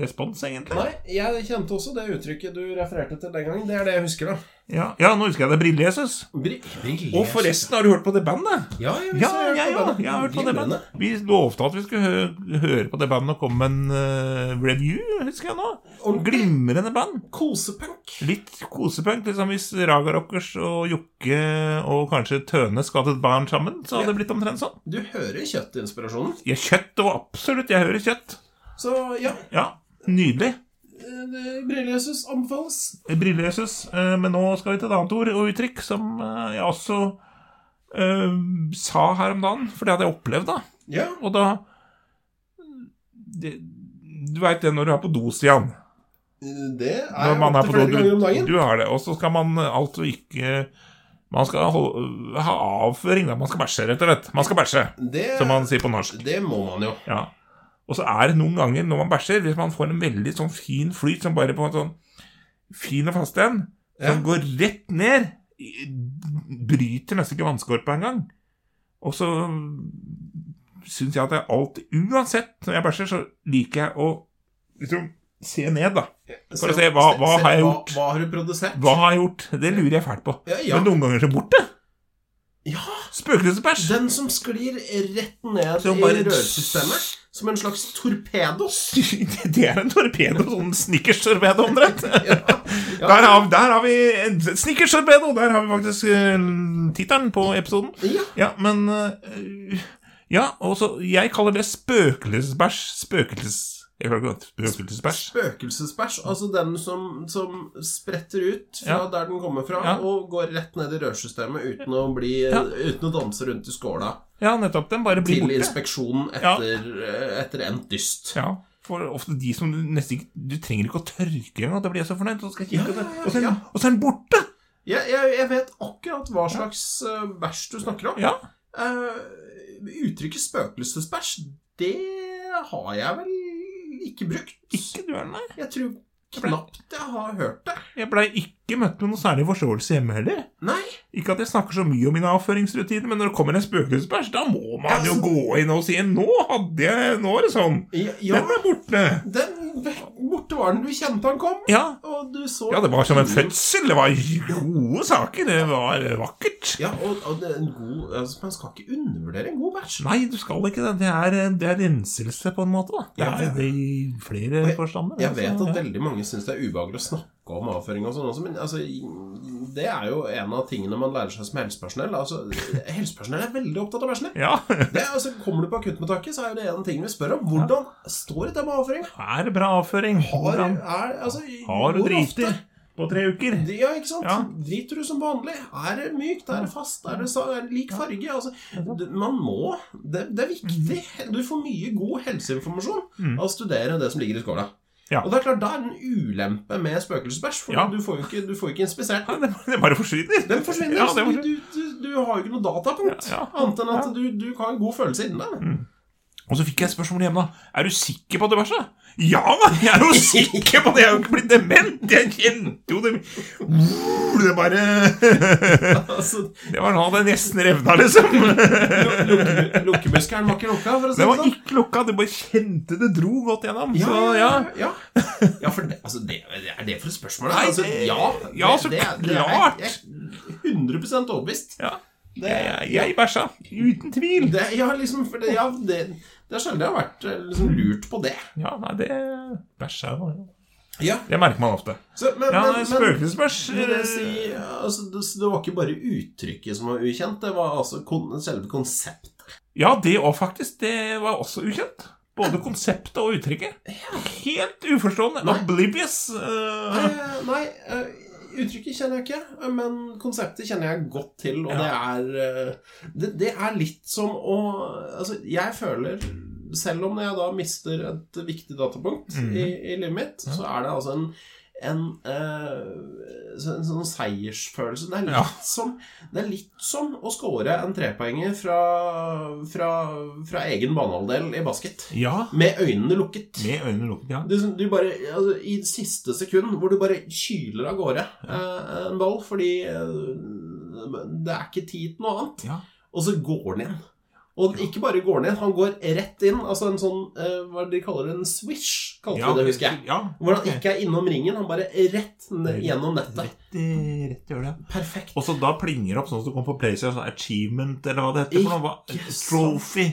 S1: respons, egentlig.
S2: Nei, jeg kjente også det uttrykket du refererte til den gangen. Det er det jeg husker, da.
S1: Ja, ja nå husker jeg det. Brille-Jesus.
S2: Bri briller.
S1: Og forresten, har du hørt på det bandet?
S2: Ja, jeg,
S1: Ja, jeg òg. Jeg har hørt på det bandet. Vi lovte at vi skulle hø høre på det bandet og komme med en eh, review, husker jeg nå.
S2: Ordentlig.
S1: Glimrende band.
S2: Kosepunk.
S1: Litt kosepunk. liksom Hvis Raga Rockers og Jokke og kanskje Tøne skulle hatt et barn sammen, så hadde det blitt omtrent sånn.
S2: Du hører kjøttinspirasjonen.
S1: Ja, kjøtt og absolutt. Jeg hører kjøtt.
S2: Så ja,
S1: Ja, nydelig.
S2: Brillejesus anbefales.
S1: Brille-Jesus. Eh, Men nå skal vi til et annet ord og uttrykk som eh, jeg også eh, sa her om dagen, for det hadde jeg opplevd, da.
S2: Ja.
S1: Og da det, Du veit det når du er på do, Stian.
S2: Det er
S1: Når man er
S2: opptil
S1: på do,
S2: flere ganger om
S1: du,
S2: dagen.
S1: du er det. Og så skal man eh, altså ikke Man skal hol- eh, ha avføring, da. Man skal bæsje, rett og slett. Man skal bæsje,
S2: Det,
S1: som man sier på norsk.
S2: det må man jo.
S1: Ja. Og så er det noen ganger når man bæsjer, hvis man får en veldig sånn fin flyt som bare på en sånn fin og fast en, som
S2: Ja.
S1: går rett ned, i- bryter nesten ikke vannskorpa engang. Og så syns jeg at jeg alltid, uansett når jeg bæsjer, så liker jeg å liksom se ned, da. For å se, hva- hva har jeg gjort?
S2: Hva, hva har du produsert?
S1: Hva har jeg gjort? Det lurer jeg fælt på.
S2: Ja, ja.
S1: Men noen ganger så borte.
S2: ja,
S1: Spøkelsesbæsj.
S2: den som sklir rett ned
S1: Som
S2: i
S1: bare-
S2: rørsystemet. Som en slags torpedo.
S1: Det er en torpedo, sånn snickers-torpedo omtrent.
S2: Ja. Ja.
S1: Der, har, der har vi en snickers-torpedo! Der har vi faktisk uh, tittelen på episoden.
S2: Ja.
S1: Ja, men eh, Ja, og så Jeg kaller det spøkelsesbæsj. Spøkelses... Jeg klarer ikke å Spøkelsesbæsj.
S2: Spøkelsesbæsj. Altså den som, som spretter ut fra
S1: Ja.
S2: der den kommer fra,
S1: Ja.
S2: og går rett ned i rørsystemet uten å, bli,
S1: Ja.
S2: uten å danse rundt i skåla.
S1: Ja, nettopp. Den bare blir
S2: Til
S1: borte.
S2: inspeksjon
S1: Ja.
S2: etter, eh, etter endt dyst.
S1: Ja, for ofte de som du nesten ikke Du trenger ikke å tørke engang. Da blir jeg så fornøyd. Og så, skal jeg kikke,
S2: Ja, ja, ja,
S1: og, så er,
S2: ja.
S1: den- og så er den borte!
S2: Jeg, jeg, jeg vet akkurat hva slags eh, bæsj du snakker om.
S1: Ja.
S2: Eh, uttrykket spøkelsesbæsj, det har jeg vel ikke brukt.
S1: Ikke du er den der.
S2: Jeg tror knapt jeg har hørt det.
S1: Jeg blei ikke møtt med noe særlig forståelse hjemme heller.
S2: Nei.
S1: Ikke at jeg snakker så mye om mine avføringsrutiner, men når det kommer en spøkelsesbæsj, da må man jo gå inn og si 'Nå hadde jeg Nå er det sånn'.
S2: Ja, ja
S1: Den ble borte.
S2: den borte var den du kjente han kom.
S1: Ja.
S2: Og du så
S1: ja, det var som en fødsel. Det var gode saker. Det var vakkert.
S2: Ja, og, og det er en god altså, Man skal ikke undervurdere en god bæsj.
S1: Nei, du skal ikke det. Det er, det er renselse, på en måte. da Det
S2: Ja, ja.
S1: er det i flere
S2: jeg-
S1: forstander.
S2: Jeg vet
S1: altså.
S2: at veldig mange syns det er ubehagelig å snakke om avføring og sånn også, men altså, det er jo en av tingene man lærer seg som helsepersonell. Altså, helsepersonell er veldig opptatt av bæsjen.
S1: Ja.
S2: Det, er altså, kommer du på akuttmottaket, så er jo det en ting vi spør om. Hvordan står det til med avføring?
S1: Er det bra avføring?
S2: Har,
S1: Hvordan-
S2: er, altså,
S1: Har du
S2: hvor
S1: driti
S2: ofte?
S1: på tre uker?
S2: Det- Ja, ikke sant?
S1: Ja.
S2: Driter du som vanlig? Er det mykt? Er det fast? Er det, sa- er det lik farge? Altså, d- man må det, det er viktig.
S1: Mhm.
S2: Du får mye god helseinformasjon
S1: Mm.
S2: av å studere det som ligger i skåla.
S1: Ja.
S2: Og det er klart, da er det en ulempe med spøkelsesbæsj, for
S1: Ja.
S2: du, får jo ikke, du får ikke inspisert den.
S1: Nei, det- Det bare forsvinner.
S2: Den forsvinner.
S1: Ja,
S2: så
S1: det
S2: du,
S1: forsvinner.
S2: du, du, du har jo ikke noe datapunkt,
S1: Ja, ja.
S2: annet enn at
S1: Ja. Mhm.
S2: du, du har en god følelse inni deg.
S1: Og så fikk jeg et spørsmål hjemme da. Er du sikker på at du bæsja? Ja da, jeg er jo sikker på det! Jeg er jo ikke blitt dement! Jeg kjente jo det Det bare Det
S2: Altså,
S1: var sånn at jeg nesten revna, liksom.
S2: lu- lukke- Lukkemuskelen var ikke lukka, for å si
S1: Det
S2: det
S1: var
S2: sånn.
S1: ikke lukka, du bare kjente det dro godt gjennom.
S2: Ja,
S1: Så ja.
S2: ja, ja. ja for det, altså, det, er det for et spørsmål?
S1: Nei,
S2: altså,
S1: det-
S2: ja,
S1: ja, så klart.
S2: Er, jeg er 100 overbevist.
S1: ja.
S2: Det,
S1: Jeg, jeg bæsja. Uten tvil.
S2: det, ja, liksom, for det, ja, det, det er sjelden jeg har vært eh, liksom, lurt på det.
S1: Ja, nei, det Bæsja var jo
S2: Ja,
S1: Det merker man ofte.
S2: så, men,
S1: Ja,
S2: men, men
S1: Spøkelsesbæsj.
S2: vil jeg si, ja, altså, det, så det var ikke bare uttrykket som var ukjent, det var altså kon, selve konseptet.
S1: Ja, det òg, faktisk. Det var også ukjent. Både konseptet og uttrykket. Helt uforstående.
S2: Nei.
S1: Oblivious. eh,
S2: Eh, Nei, eh, uttrykket kjenner jeg ikke, eh, men konseptet kjenner jeg godt til, og det er eh, det, det er litt som å Altså, jeg føler Selv om jeg da mister et viktig datapunkt
S1: Mhm.
S2: i, i livet mitt, så er det altså en en, eh, så- en sånn seiersfølelse. Det er litt
S1: Ja.
S2: som Det er litt som å score en trepoenger fra, fra, fra egen banehalvdel i basket.
S1: ja.
S2: Med øynene lukket.
S1: Med øynene lukket, ja.
S2: Du, du bare, altså, I siste sekund, hvor du bare kyler av gårde eh, en ball fordi eh, det er ikke tid til noe annet,
S1: Ja.
S2: og så går han inn. Og ikke bare går han inn, han går rett inn. Altså en sånn eh, Hva er det de kaller det? En swish, kalte
S1: ja.
S2: vi det, husker jeg.
S1: Ja.
S2: Hvor han ikke er innom ringen, han bare rett ned, gjennom nettet.
S1: Rett, i- rett gjør det.
S2: Perfekt.
S1: Og så da plinger det opp sånn som det kom på PlayStation, sånn achievement, eller hva det heter. for noe.
S2: Ikke
S1: Hva-
S2: sant.
S1: Trophy.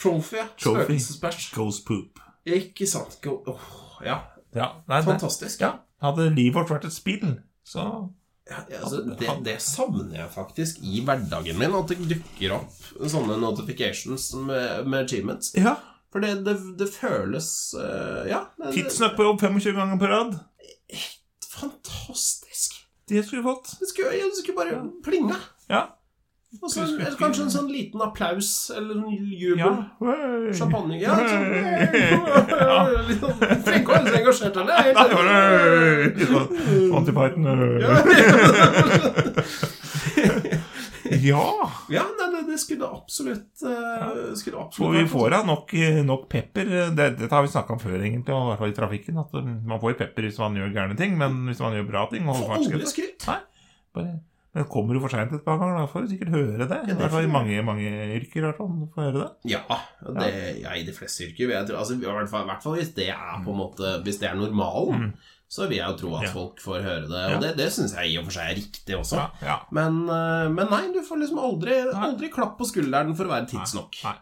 S2: Trophy. ja.
S1: Trophy.
S2: Spøkelsesbæsj.
S1: Ghost poop.
S2: Ikke sant. Go- Åh, ja.
S1: Ja, nei, det,
S2: Fantastisk.
S1: ja. Hadde livet vårt vært et spill, så
S2: Ja, altså, det, det savner jeg faktisk i hverdagen min, at det dukker opp sånne notifications med, med achievements.
S1: Ja.
S2: For det, det, det føles eh, Ja. det- det-
S1: Tidsnøkk på jobb 25 ganger på rad.
S2: Fantastisk.
S1: Det skulle vi fått.
S2: Det skulle, ja, det skulle bare plinga.
S1: Ja.
S2: Og så en- eller kanskje en sånn liten applaus eller en jubel.
S1: Hei.
S2: Champagne. Ja,
S1: Ja.
S2: sånn. Litt sånn- Du trenger ikke å være så engasjert heller. jeg er
S1: Nei,
S2: helt
S1: var det- Litt sånn Antifighten øh. Ja!
S2: Ja, nei, det, det skulle absolutt eh, Skulle
S1: For
S2: absolutt
S1: vi
S2: vært-
S1: får da nok, nok pepper. Det, dette har vi snakka om før, egentlig, og i hvert fall i trafikken. At man får jo pepper hvis man gjør gærne ting, men hvis man gjør bra ting og
S2: Får
S1: holder
S2: aldri
S1: fartsgrensa
S2: skryt.
S1: bare- Men kommer du for seint et par ganger, da får du sikkert høre det. I
S2: det
S1: hvert fall i
S2: får
S1: mange, mange yrker. i hvert fall, du får høre det.
S2: Ja, det, ja, i de fleste yrker. vil jeg tro- Altså, i, hvert fall, I hvert fall hvis det er på en måte Hvis det er normalen, så vil jeg jo tro at
S1: Mm. Ja.
S2: folk får høre det.
S1: Ja.
S2: Og det, det syns jeg i og for seg er riktig også.
S1: Ja, ja.
S2: Men, eh, men nei, du får liksom aldri, aldri klapp på skulderen for å være tidsnok.
S1: Nei.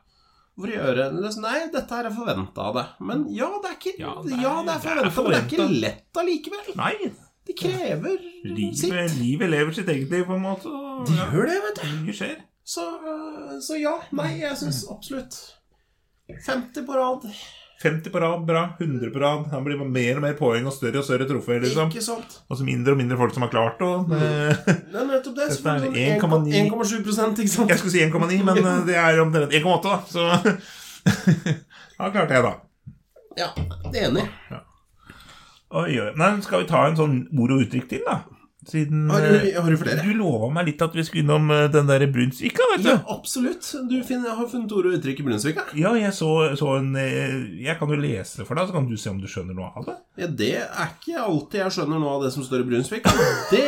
S2: For å gjøre det sånn, Nei, dette her er forventa av deg. Men ja, det er ikke Ja, det er,
S1: det er
S2: forventa, men det er ikke
S1: forventet.
S2: lett allikevel.
S1: Nei.
S2: Det krever sitt.
S1: Livet, livet lever sitt eget liv, på en måte. og
S2: De
S1: ja,
S2: gjør det, vet du.
S1: Mye skjer.
S2: Så, øh, så ja. Nei, jeg syns absolutt 50 på rad.
S1: 50 på rad, bra. 100 på rad. Han blir mer og mer poeng og større og større trofeer. Liksom.
S2: Ikke Mm. sant?
S1: Og så mindre og mindre folk som har klart og, eh,
S2: Det er nettopp det. Så
S1: Dette er
S2: sånn
S1: 1,9.
S2: 1,7 prosent, ikke sant?
S1: Jeg skulle si 1,9, men eh, det er omtrent 1,8, da. Så da klarte jeg, da.
S2: Ja, det er enig.
S1: Oi, oi. Nei, skal vi ta en sånn ord og uttrykk til, da? Siden
S2: Har du,
S1: eh,
S2: har du flere?
S1: Du lova meg litt at vi skulle innom eh, den derre Brunsvika, vet du.
S2: Ja, absolutt. Du finner, har funnet ordet og uttrykket i Brunsvika.
S1: Ja, jeg så, så en eh, Jeg kan jo lese det for deg, så kan du se om du skjønner noe av det.
S2: Ja, det er ikke alltid jeg skjønner noe av det som står i Brunsvika. Det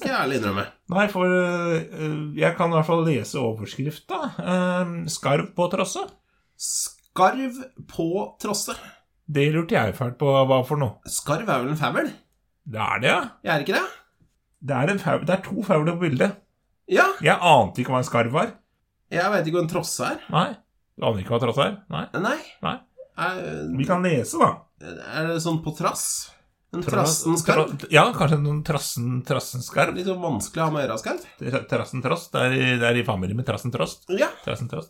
S2: skal jeg ærlig innrømme.
S1: Nei, for eh, jeg kan i hvert fall lese overskrifta. Eh, 'Skarv på trosse'.
S2: Skarv på trosse.
S1: Det lurte jeg fælt på hva for noe.
S2: Skarv er vel en favel?
S1: Det er det, ja.
S2: Jeg er ikke det?
S1: Det er, en faul, det er to fauler på bildet.
S2: Ja.
S1: Jeg ante ikke hva en skarv var.
S2: Jeg veit ikke hva en trosse er.
S1: Nei. Du aner ikke hva tross er? Nei.
S2: Nei.
S1: Nei.
S2: Er,
S1: Vi kan lese, da.
S2: er det sånn på trass? En trassen skarv?
S1: Tra- Ja, kanskje en trassen, trassen skarv.
S2: Litt sånn vanskelig å ha med å gjøre, skarv?
S1: Tra- Trassen tross. Det er, i- det er i familie med trassen tross.
S2: Ja.
S1: Trassen tross.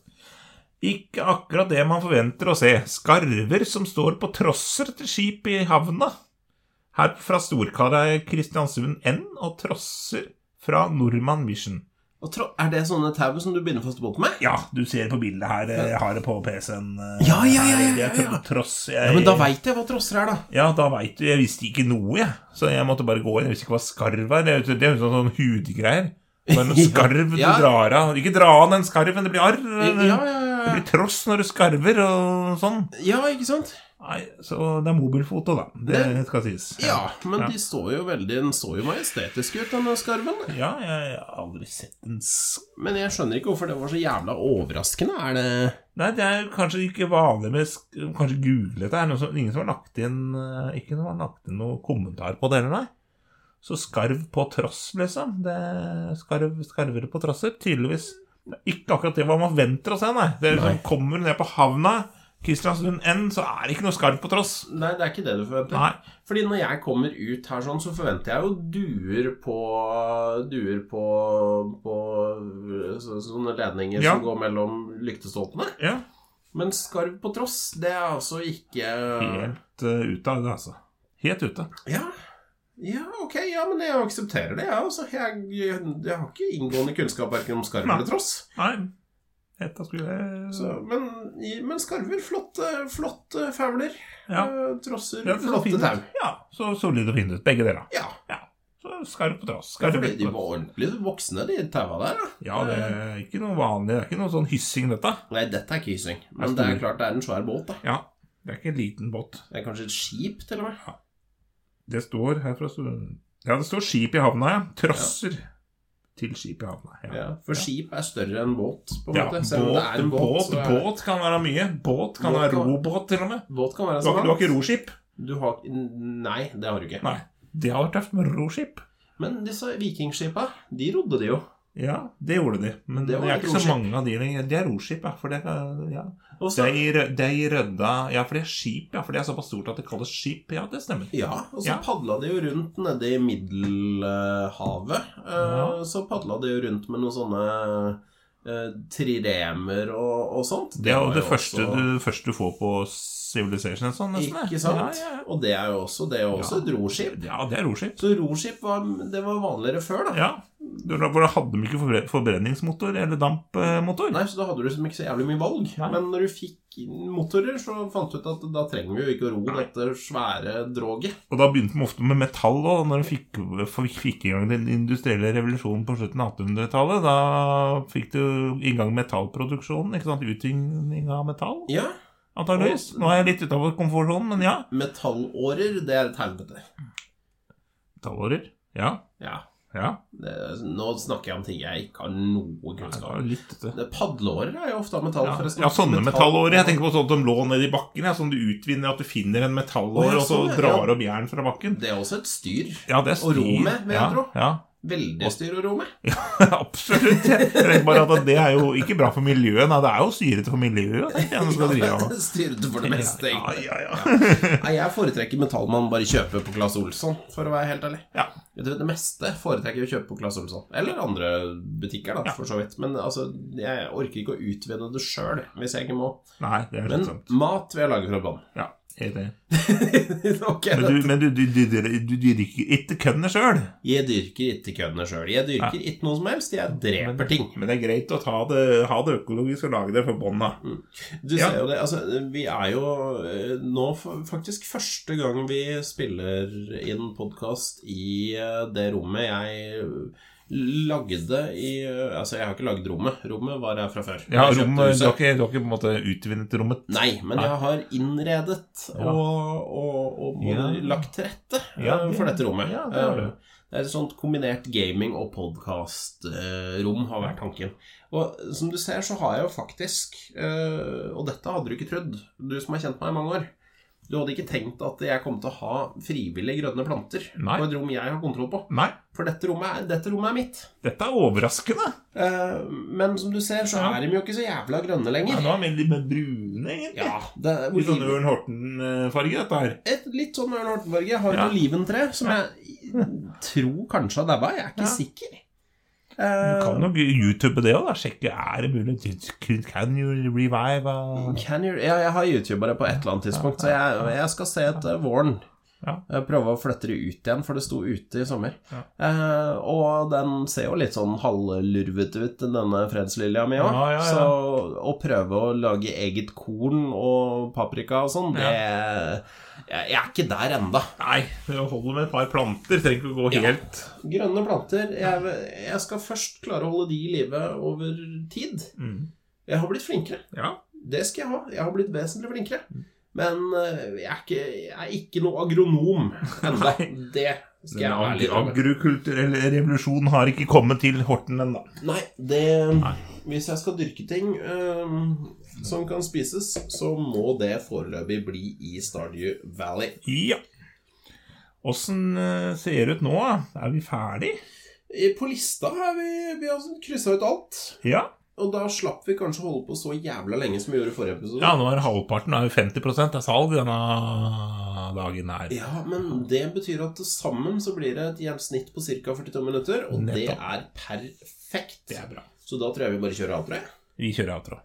S1: Ikke akkurat det man forventer å se. Skarver som står på trosser til skip i havna. Her fra Storkarai Kristiansund N og trosser fra Nordmann Vision.
S2: Og tro, er det sånne tau som du binder fast båt med?
S1: Ja, du ser på bildet her. eh, Jeg har det på PC-en. eh,
S2: Ja, ja, ja, ja,
S1: her. Det er
S2: ja, ja.
S1: tro- tross. Jeg,
S2: Ja, Men da veit jeg hva trosser er, da.
S1: Ja, da veit du. Jeg visste ikke noe, jeg. Så jeg måtte bare gå inn. Jeg visste ikke hva skarv var. Det er jo- det er jo sånn, sånn hudgreier. Det er noen skarv du
S2: Ja.
S1: drar av. Ikke dra av den skarven, det blir arr.
S2: Ja,
S1: Det
S2: ja, ja.
S1: blir tross når du skarver og sånn.
S2: ja ikke sant?
S1: Nei, Så det er mobilfoto, da. Det skal sies.
S2: Ja, men de står jo veldig Den står jo majestetisk ut, denne skarven.
S1: Ja, jeg har aldri sett en sk...
S2: Men jeg skjønner ikke hvorfor det var så jævla overraskende. Er det
S1: Nei, det er kanskje ikke vanlig med sk Kanskje google det. Er noe som, ingen som har lagt inn eh, Ikke noen som har lagt inn noen kommentar på det, eller nei? Så skarv på tross, liksom. Det er skarv, skarver på trosser, tydeligvis. Det er Ikke akkurat det hva man venter å se, nei. Det er liksom, Kommer du ned på havna, Kristiansund N, så er det ikke noe skarv på tross.
S2: Nei, det er ikke det du forventer.
S1: Nei.
S2: Fordi når jeg kommer ut her sånn, så forventer jeg jo duer på Duer på, på så, sånne ledninger
S1: Ja.
S2: som går mellom lyktestolpene.
S1: Ja.
S2: Men skarv på tross, det er altså ikke
S1: Helt eh, ute av det, altså. Helt ute.
S2: Ja. Ja, ok, ja, men jeg aksepterer det, jeg også. Jeg, jeg, jeg har ikke inngående kunnskap verken om skarv
S1: Nei.
S2: eller tross.
S1: Nei. Dette skulle
S2: Så, men, men skarver, flotte, flotte fauler.
S1: Ja.
S2: Eh, Trosser,
S1: Ja, det så
S2: flotte
S1: fint
S2: tau.
S1: ut. Ja, så solid og fin ut, begge deler.
S2: Ja.
S1: Så skarv på tross.
S2: Ja,
S1: Skarv
S2: fordi de
S1: på
S2: var ordentlig voksne, de taua der. Da.
S1: Ja, det er ikke noe vanlig. Det er ikke noe sånn hyssing, dette.
S2: Nei, dette er ikke hyssing.
S1: Det er
S2: Men det
S1: stor.
S2: er klart det er en svær båt. da
S1: Ja, Det er ikke en liten båt.
S2: Det er kanskje et skip, til og med.
S1: Det står her fra Stor- Ja, det står skip i havna, ja. Trosser til skip i havna. Ja.
S2: Ja, for skip er større enn båt, på en
S1: Ja,
S2: måte.
S1: båt,
S2: Selv om det er en båt.
S1: båt,
S2: så er
S1: båt kan være mye. Båt kan
S2: Båt
S1: være
S2: kan-
S1: robåt, til og med.
S2: båt kan være
S1: Du har, ikke- du har ikke
S2: båt.
S1: roskip?
S2: Du har Nei, det har du ikke.
S1: Nei. Det hadde vært tøft med roskip.
S2: Men disse vikingskipa, de rodde de jo.
S1: Ja, det gjorde de. Men det,
S2: Det var
S1: er
S2: et
S1: ikke så
S2: roskip.
S1: mange av de lenger. De er roskip, ja. For det, er- ja. Det
S2: Og så-
S1: er i Rø- det er i Rødda Ja, for det er skip, ja. For det er såpass stort at det kalles skip. Ja, det stemmer.
S2: Ja, og så
S1: Ja.
S2: padla de jo rundt nede i Middelhavet. Eh,
S1: Ja.
S2: Så padla de jo rundt med noen sånne eh, triremer og, og sånt.
S1: Det er jo
S2: var
S1: det
S2: jo
S1: første,
S2: også-
S1: du, første du får på Civilization. en Sånn, nesten, ja.
S2: Ikke sant?
S1: Ja, ja, ja.
S2: Og det er jo også, det er jo også
S1: Ja.
S2: et roskip.
S1: ja, det er roskip.
S2: Så roskip var, det var vanligere før, da.
S1: Ja, Hvordan hadde de ikke forbre- forbrenningsmotor eller dampmotor?
S2: Nei, så da hadde du liksom ikke så jævlig mye valg.
S1: Nei.
S2: Men når du fikk inn motorer, så fant du ut at da trenger vi jo ikke å ro dette svære droget.
S1: Og da begynte de ofte med metall òg, når de fikk, for- fikk i gang den industrielle revolusjonen på slutten av 1800-tallet. Da fikk du i gang metallproduksjonen, ikke sant? Utvinning av metall,
S2: Ja,
S1: antageligvis. Nå er jeg litt utafor komfortsonen, men ja.
S2: metallårer, det er et helvete.
S1: Metallårer. Ja.
S2: Ja.
S1: Ja.
S2: Det, altså, nå snakker jeg om ting jeg ikke har noe
S1: Det
S2: kunnskap
S1: var
S2: om.
S1: litt dette.
S2: Det- Padleårer er jo ofte av metall,
S1: Ja,
S2: forresten.
S1: ja, sånne metallårer. Jeg
S2: tenker
S1: tenker på sånt som lå nede i bakken, ja, som du utvinner, at du finner en
S2: Å,
S1: metallår,
S2: ja,
S1: og så
S2: sånn, ja.
S1: drar opp jern fra bakken.
S2: Det er også et styr.
S1: Ja, det er
S2: Og ro
S1: stil.
S2: med, vil jeg
S1: ja,
S2: tro.
S1: Ja,
S2: Veldig styr å ro med.
S1: absolutt. Jeg tenker bare at det er jo ikke bra for miljøet. Nei, det er jo styrete for miljøet, tenker jeg, når du skal drive av.
S2: Styrte for det meste,
S1: Ja,
S2: egentlig.
S1: ja, ja.
S2: Nei, jeg foretrekker metall man bare kjøper på Claes Olsson, for å være helt ærlig.
S1: ja.
S2: Vet du, Det meste foretrekker jeg å kjøpe på Claes Olsson. Eller andre butikker, da, for så vidt. Men altså, jeg orker ikke å utvinne det sjøl, hvis jeg ikke må.
S1: Nei, det er
S2: Men
S1: slitsomt.
S2: mat vil jeg lage fra bånn.
S1: Ja, helt enig.
S2: Ok,
S1: Men du, men du, du, du, du, du dyrker ikke kønnet sjøl.
S2: Jeg dyrker ikke køddene sjøl. Jeg dyrker ikke noe som helst. Jeg dreper ting.
S1: Men det er greit å ta det, ha det økologisk og lage det for bånn, da.
S2: Du
S1: Ja.
S2: ser jo det. Altså, vi er jo eh, nå fa- faktisk første gang vi spiller inn podkast i eh, det rommet jeg eh, lagde i eh, Altså, jeg har ikke lagd rommet. Rommet var her fra før.
S1: Ja,
S2: Jeg kjøpte
S1: rom, du, har
S2: huset.
S1: ikke, du har ikke på en måte utvinnet rommet?
S2: Nei, men jeg har innredet
S1: Ja.
S2: og, og, og både
S1: Ja.
S2: lagt til rette eh,
S1: Ja, det-
S2: for dette rommet.
S1: ja, det har du.
S2: Eh, det er et sånt kombinert gaming- og podkastrom, har vært tanken. Og som du ser, så har jeg jo faktisk eh, Og dette hadde du ikke trodd, du som har kjent meg i mange år. Du hadde ikke tenkt at jeg kom til å ha frivillige grønne planter
S1: Nei.
S2: på et rom jeg har kontroll på.
S1: Nei,
S2: For dette rommet er, dette rommet er mitt.
S1: dette er overraskende.
S2: Eh, men som du ser, så
S1: Ja.
S2: er de jo ikke så jævla grønne
S1: Ja,
S2: lenger.
S1: nå er vi litt mer brune, egentlig.
S2: Ja, det,
S1: Litt sånn Ørn Horten-farge, dette her.
S2: Et litt sånn Ørn Hortenborg. Jeg har et
S1: Ja.
S2: oliventre som jeg tror kanskje har daua. Jeg er ikke
S1: Ja.
S2: sikker.
S1: Du
S2: Eh,
S1: kan nok YouTube det òg, da. Sjekke er det mulig. Can you revive a-
S2: can you, ja, jeg har youtubere på et eller annet tidspunkt, så jeg, jeg skal se etter våren.
S1: Ja.
S2: Eh, Prøve å flytte det ut igjen, for det sto ute i sommer.
S1: Ja.
S2: Eh, og den ser jo litt sånn halvlurvete ut, denne fredslilja mi òg.
S1: Ja, ja, ja.
S2: Så å prøve å lage eget korn og paprika og sånn, det jeg, jeg er ikke der enda.
S1: Nei, det holder med et par planter. Trenger ikke å gå
S2: Ja.
S1: helt
S2: Grønne planter jeg, jeg skal først klare å holde de i live over tid.
S1: mm.
S2: Jeg har blitt flinkere.
S1: Ja.
S2: Det skal jeg ha. Jeg har blitt vesentlig flinkere. Men eh, jeg er ikke, jeg er ikke noe agronom ennå. Det skal jeg være ærlig
S1: Den
S2: om.
S1: agrikulturelle revolusjonen har ikke kommet til Horten ennå.
S2: Nei, det Hvis jeg skal dyrke ting eh, som kan spises, så må det foreløpig bli i Stardew Valley.
S1: Ja. Åssen eh, ser det ut nå? da? Er vi ferdig?
S2: Eh, På lista har vi, vi har kryssa ut alt.
S1: Ja.
S2: Og da slapp vi kanskje å holde på så jævla lenge som vi gjorde i forrige episode.
S1: ja, nå er halvparten, nå er jo 50 av salg denne dagen her.
S2: Ja, men det betyr at til sammen så blir det et gjennomsnitt på ca. 42 minutter, og det
S1: Nettopp.
S2: er perfekt.
S1: Det er bra.
S2: Så da tror jeg vi bare kjører outro. jeg.
S1: Vi kjører outro.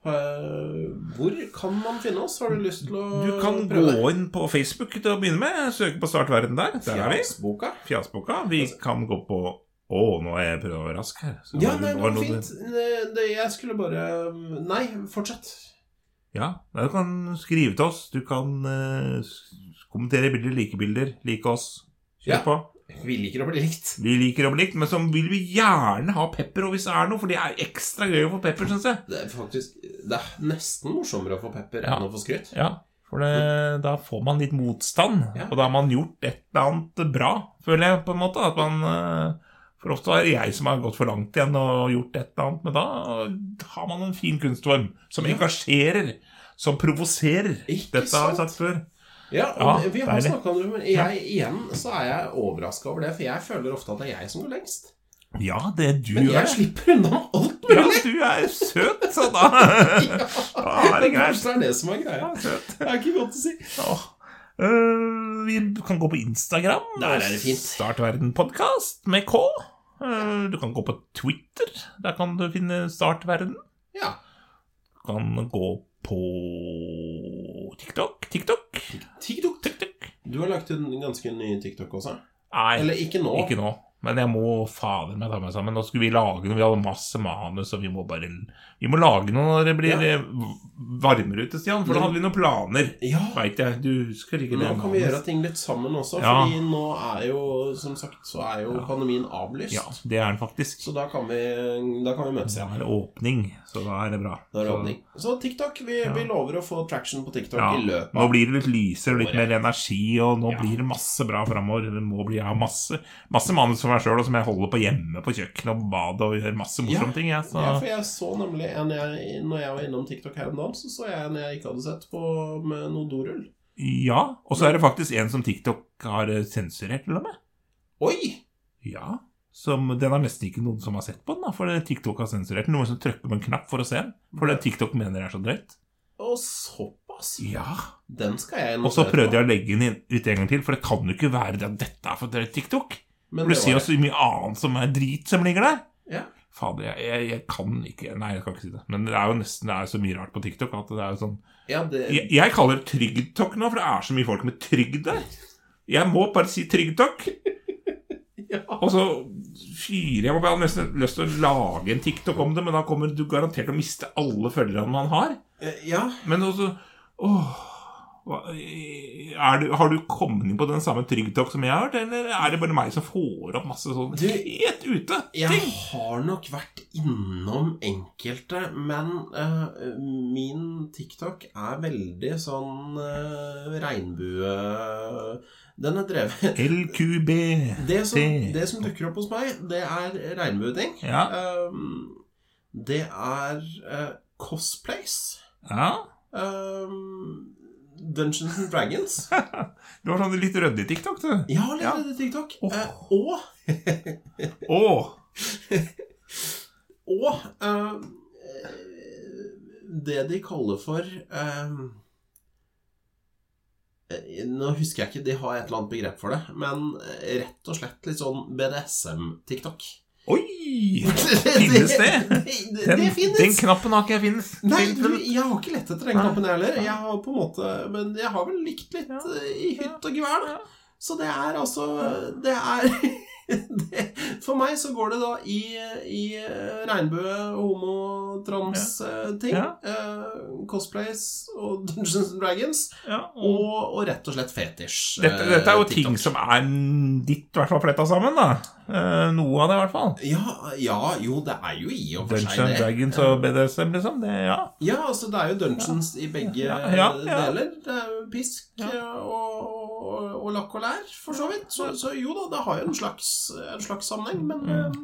S2: Eh, Hvor kan man finne oss? Har du lyst til å
S1: Du kan gå inn på Facebook til å begynne med. Søke på Start verden der. Der er vi.
S2: Fjasboka?
S1: Fjasboka. Vi kan gå på Å, nå er jeg prøver å være rask her. Så
S2: Altså- Ja,
S1: det
S2: nei, det
S1: var
S2: var
S1: noe-
S2: fint. Det- det- Jeg skulle bare mm, Nei, fortsett.
S1: Ja, nei, Du kan skrive til oss. Du kan eh, s- kommentere bilder, like bilder, like oss. Kjør
S2: Ja.
S1: på.
S2: Vi liker å bli likt.
S1: Vi liker å bli likt, men så vil vi gjerne ha pepper og hvis det er noe, for det er ekstra gøy å få pepper, syns jeg.
S2: Det er faktisk Det er nesten morsommere å få pepper
S1: Ja.
S2: enn å få skryt.
S1: Ja, for det, da får man litt motstand,
S2: Ja.
S1: og da har man gjort et eller annet bra, føler jeg på en måte. At man, eh, for ofte er det jeg som har gått for langt igjen og gjort et eller annet, men da har man en fin kunstform som
S2: Ja.
S1: engasjerer, som provoserer.
S2: Ikke
S1: Dette har
S2: sant?
S1: jeg sagt før.
S2: Ja, og
S1: Ja,
S2: vi har
S1: deilig.
S2: snakka om det, men jeg, igjen så er jeg overraska over det, for jeg føler ofte at det er jeg som går lengst.
S1: Ja, det du
S2: Men
S1: gjør.
S2: jeg slipper unna med alt
S1: Ja,
S2: mulig!
S1: du er søt, så da Da er det greit.
S2: Kanskje det er det som er greia.
S1: Ja, søt.
S2: Det er ikke godt å si.
S1: Åh. Eh, vi kan gå på Instagram.
S2: Der er det fint.
S1: Start Verden Podcast med K. Eh, du kan gå på Twitter. Der kan du finne Start Verden.
S2: Ja.
S1: Du kan gå på TikTok. TikTok.
S2: TikTok.
S1: TikTok.
S2: Du har lagt ut en ganske ny TikTok også.
S1: Nei,
S2: Eller ikke nå.
S1: ikke nå. Men jeg må fader meg ta meg sammen. Nå skulle vi lage noe, vi hadde masse manus, og vi må bare Vi må lage noe når det blir eh, varmere ute, Stian. For da hadde vi noen planer.
S2: Ja.
S1: Veit jeg. Du husker ikke
S2: Nå
S1: det?
S2: kan vi gjøre ting litt sammen også,
S1: Ja.
S2: Fordi nå er jo, som sagt, så er jo pandemien avlyst.
S1: Ja, det er den faktisk.
S2: Så da kan vi, da kan vi møtes
S1: Det
S2: igjen.
S1: er åpning, så da er det bra.
S2: Da er det
S1: Så-
S2: åpning. Så TikTok, vi, vi lover å få traction på TikTok
S1: Ja,
S2: i løpet
S1: nå blir det litt lysere og litt mer energi, og nå
S2: Ja.
S1: blir det masse bra framover. Det må bli jeg har masse, masse manus for meg sjøl, som jeg holder på hjemme på kjøkkenet og på badet og gjør masse morsomme
S2: Ja.
S1: ting. Jeg, så.
S2: Ja, for jeg så nemlig en jeg, Når jeg var innom TikTok her om dagen, så så jeg en jeg ikke hadde sett på med noe dorull.
S1: ja, og så er det faktisk en som TikTok har eh, sensurert, til og med.
S2: Oi!
S1: Ja. Som, den er nesten ikke noen som har sett på den, da, for det TikTok har sensurert den. Noen som trykker på en knapp for å se den, for det TikTok mener er så drøyt.
S2: Og såpass!
S1: Ja.
S2: Den skal jeg
S1: Og så prøvde jeg å legge den inn- ut en gang til, for det kan jo ikke være det at dette er for drøyt TikTok.
S2: Men
S1: For
S2: det
S1: du ser
S2: var
S1: jo så mye annet som er drit som ligger der.
S2: Ja.
S1: Fader, jeg, jeg, jeg kan ikke Nei, jeg kan ikke si det. Men det er jo nesten det er så mye rart på TikTok at det er jo sånn
S2: Ja, det,
S1: Jeg, jeg kaller det TrygTok nå, for det er så mye folk med trygd der. Jeg må bare si TrygTok.
S2: ja.
S1: Og så fyrer jeg meg Jeg har nesten lyst til å lage en TikTok om det, men da kommer du garantert til å miste alle følgerne man har.
S2: ja.
S1: Men også Åh hva- er du, Har du kommet inn på den samme TrygTok som jeg har hørt, eller er det bare meg som får opp masse sånn
S2: Du,
S1: helt ute?
S2: Jeg
S1: ting?
S2: har nok vært innom enkelte, men eh, min TikTok er veldig sånn eh, regnbue... Den er drevet
S1: LQB.
S2: det som,
S1: Det-
S2: det som dukker opp hos meg, det er regnbueting.
S1: Ja.
S2: Um, det er eh, cosplays.
S1: ja.
S2: Um, Dungeons and Dragons.
S1: Du har sånn litt rødde TikTok, du.
S2: Ja, litt
S1: Ja.
S2: redd i TikTok.
S1: Åh.
S2: Eh, og
S1: Åh
S2: og eh, det de kaller for eh, eh, Nå husker jeg ikke, de har et eller annet begrep for det, men eh, rett og slett litt sånn BDSM-TikTok.
S1: Oi! Finnes det?
S2: det,
S1: Den,
S2: det finnes.
S1: den knappen har ikke jeg finnes.
S2: Nei,
S1: Finnes
S2: du,
S1: den?
S2: jeg har ikke lett etter den
S1: Nei.
S2: knappen, jeg heller.
S1: Nei.
S2: Jeg har på en måte Men jeg har vel likt litt
S1: Ja.
S2: eh, i hytt og gevær,
S1: Ja.
S2: da. Så det er altså Det er det, For meg så går det da i, i eh, regnbue, homo, trans eh, ting.
S1: Ja.
S2: eh, cosplays og Dungeons and Dragons.
S1: Ja, og
S2: Og, og rett og slett
S1: Mm.
S2: fetisj. eh,
S1: dette, dette er jo
S2: TikTok.
S1: ting som er ditt, i hvert fall fletta sammen, da. Eh, noe av det, i hvert fall.
S2: ja, ja, jo, det er jo i og for
S1: Dungeons
S2: seg
S1: and
S2: det.
S1: Dragons og BDSM, liksom. Det, ja.
S2: Ja, altså det er jo dungeons i begge
S1: Ja, ja, ja.
S2: deler. Det er jo pisk eh, og, og, og lakk og lær, for så vidt. Så, så jo da, det har jo en slags, en slags sammenheng, men, eh,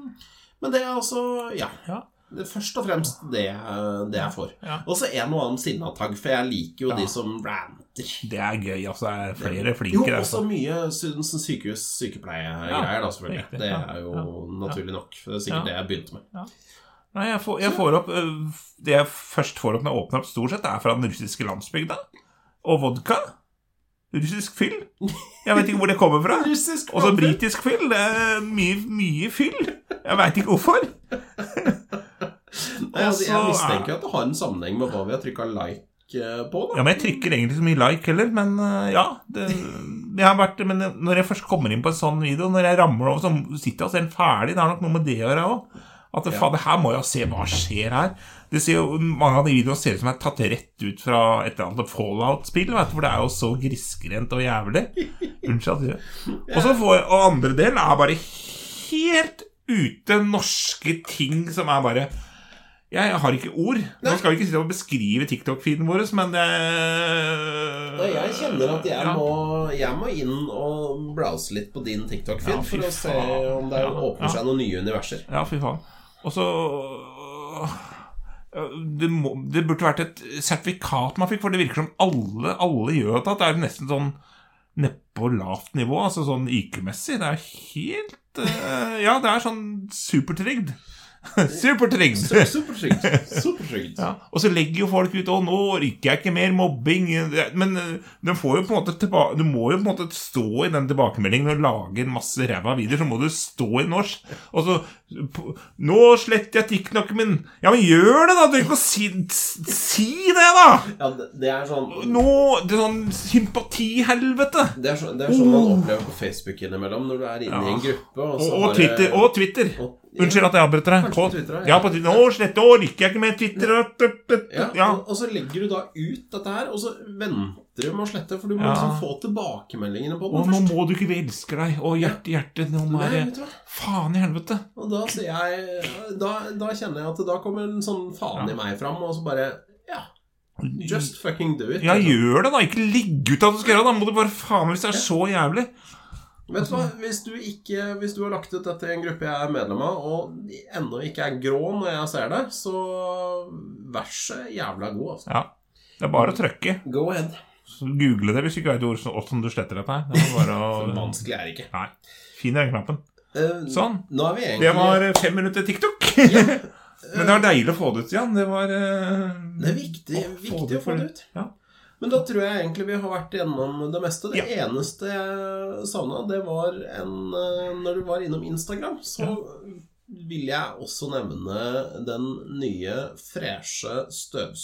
S2: men det er altså Ja.
S1: Mm. Ja.
S2: Det er først og fremst det, eh, det jeg får.
S1: Ja.
S2: Og så en og annen sinnatagg, for jeg liker jo de som ranter.
S1: Det er gøy, altså. Det er flere
S2: Jo,
S1: flinke der. altså.
S2: også mye Sudensen sykehus sykepleiegreier, da, selvfølgelig.
S1: riktig.
S2: Det
S1: Ja,
S2: er
S1: ja,
S2: jo naturlig nok. Det er
S1: Ja.
S2: sikkert det jeg begynte med.
S1: Nei, jeg får, jeg får opp øh, Det jeg først får opp når jeg åpner opp, stort sett er fra den russiske landsbygda. Og vodka. Russisk fyll. Jeg vet ikke hvor det kommer fra.
S2: Russisk
S1: Og så britisk fyll. Det er mye, mye fyll. Jeg veit ikke hvorfor.
S2: Nei, altså, jeg
S1: Og så
S2: mistenker at det har en sammenheng med hva vi har trykka like eh, på.
S1: Ja,
S2: Da.
S1: men Jeg trykker egentlig ikke så mye like heller, men øh, ja. Det, det har vært, men når jeg først kommer inn på en sånn video, når jeg ramler over, så sitter jeg og ser den ferdig. Det har nok noe med det å gjøre òg. At faen, det her må jeg se. Hva skjer her? Det ser jo, Mange av de videoene ser ut som er tatt rett ut fra et eller annet Fallout-spill. vet du, For det er jo så grisgrendt og jævlig. Unnskyld at jeg Og så får jeg, og andre del er bare helt ute norske ting som er bare Jeg har ikke ord. Nå skal vi ikke sitte og beskrive TikTok-feeden vår, men det
S2: Nei, jeg kjenner at jeg,
S1: Ja.
S2: må, jeg må inn og blause litt på din TikTok-feed
S1: Ja, fy
S2: for å se
S1: faen.
S2: om det
S1: Ja,
S2: åpner
S1: ja.
S2: seg noen nye universer.
S1: Ja, fy faen. Og så det, må, det burde vært et sertifikat man fikk, for det virker som alle, alle gjør dette. Det er jo nesten sånn nedpå lavt nivå, altså sånn IQ-messig. Det er helt eh, Ja, det er sånn supertrygd. Supertrygd!
S2: Supertrygt. Supertrygt.
S1: Ja, og så legger jo folk ut 'Å, nå orker jeg ikke mer mobbing'. Men eh, de får jo på en måte tilba du må jo på en måte stå i den tilbakemeldingen og lage en masse ræva videoer. Så må du stå i norsk. Og så på- 'Nå sletter jeg TikToken min'. Ja, men gjør det, da! Du trenger ikke å si, si det, da!
S2: Ja, det, det er sånn
S1: Nå Det er sånn sympatihelvete.
S2: Det er, så, det er sånn man opplever på Facebook innimellom når du er inne i en
S1: Oh. Ja.
S2: gruppe. Og,
S1: Og,
S2: så
S1: og
S2: bare-
S1: Twitter. Og Twitter.
S2: Og-
S1: Unnskyld at jeg avbryter deg.
S2: Kanskje
S1: På,
S2: på Twitter, ja.
S1: ja, på Twitter. 'Nå sletter jeg, orker jeg ikke mer Twitter'. og tut, tut,
S2: Ja,
S1: tut». Ja.
S2: Og, og så legger du da ut dette her, og så venter du med å slette, for du må
S1: Ja.
S2: liksom få tilbakemeldingene på
S1: Å,
S2: den
S1: nå
S2: først.
S1: må du ikke vi elsker deg. Å, hjerte, hjerte. Nå må
S2: Nei,
S1: jeg
S2: vet du hva?
S1: Faen i helvete.
S2: Og da sier jeg da, da kjenner jeg at da kommer en sånn faen
S1: Ja.
S2: i meg fram, og så bare Ja, just fucking do it.
S1: Ja,
S2: liksom.
S1: gjør det, da. Ikke ligg ut at du skal gjøre det. Da må du bare faen hvis det er så jævlig.
S2: Vet du hva, hvis du, ikke, hvis du har lagt ut dette i en gruppe jeg er medlem av, og ennå ikke er grå når jeg ser det, så vær så jævla god, altså.
S1: Ja. Det er bare å trykke.
S2: Go ahead.
S1: Så Google det hvis du ikke vet hvor- åssen du sletter dette her. Det er bare
S2: Så
S1: å
S2: vanskelig er det ikke.
S1: Nei. Finn den knappen.
S2: Eh,
S1: Sånn.
S2: Nå er vi egentlig
S1: Det var eh, fem minutter TikTok. Men det var deilig å få det ut igjen. Det var eh,
S2: Det er viktig, viktig å få det ut.
S1: Ja.
S2: Men da tror jeg egentlig vi har vært gjennom det meste. Det eneste jeg savna, det var en eh, Når du var innom Instagram, så vil jeg også nevne den nye, freshe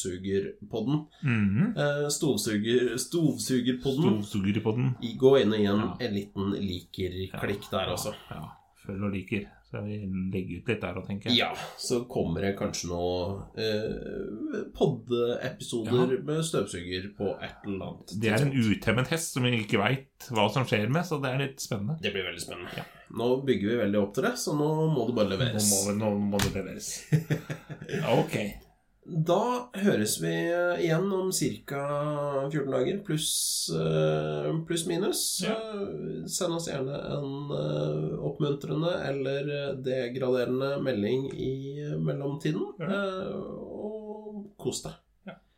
S2: støvsugerpodden.
S1: Mhm.
S2: Eh, Stovsuger, stovsugerpodden.
S1: Storsuger på den.
S2: I- Gå inn og gi en,
S1: Ja.
S2: en liten liker-klikk der altså. også.
S1: Ja. Følg og liker. Så jeg vil legge ut litt der og tenker.
S2: Ja, så kommer det kanskje noen eh, poddeepisoder med støvsuger på et eller annet.
S1: Det er en
S2: tidspunkt.
S1: utemmet hest som vi ikke veit hva som skjer med, så det er litt spennende.
S2: Det blir veldig spennende. Nå bygger vi veldig opp til det, så nå må det bare
S1: Nå
S2: leveres.
S1: må, vi- nå må det leveres. Ok.
S2: Da høres vi eh, igjen om ca. 14 dager, pluss eh, pluss minus.
S1: Ja.
S2: Eh, Send oss gjerne en eh, oppmuntrende eller eh, degraderende melding i eh, mellomtiden.
S1: Ja.
S2: Eh, Og kos deg.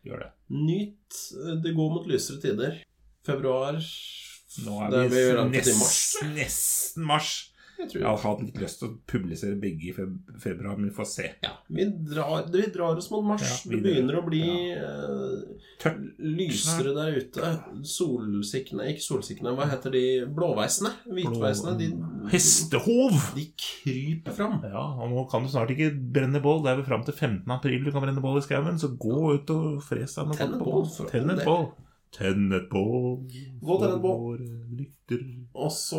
S1: Gjør det.
S2: Nyt eh, det går mot lysere tider. Februar
S1: Nå er
S2: Det
S1: vi,
S2: blir vel alltid i
S1: nest-
S2: mars.
S1: nesten mars.
S2: Jeg tror
S1: Jeg har hatt litt lyst til å publisere begge i feb februar, men vi får se.
S2: Ja, vi drar, vi drar oss mot mars.
S1: Ja, vi
S2: det
S1: drar-
S2: begynner å bli eh,
S1: Tørt.
S2: lysere der ute. Solsikkene Ikke solsikkene, hva heter de? Blåveisene? Hvitveisene? De,
S1: Hestehov!
S2: de kryper fram.
S1: Ja, og nå kan du snart ikke brenne bål. Det er vel fram til 15. april du kan brenne bål i skauen. Så gå ut og fres deg med
S2: Tenn
S1: godt
S2: et
S1: på
S2: bål, for all
S1: Tenn et
S2: del.
S1: bål. Tenn et bål
S2: Gå til et bål.
S1: våre lytter.
S2: Og så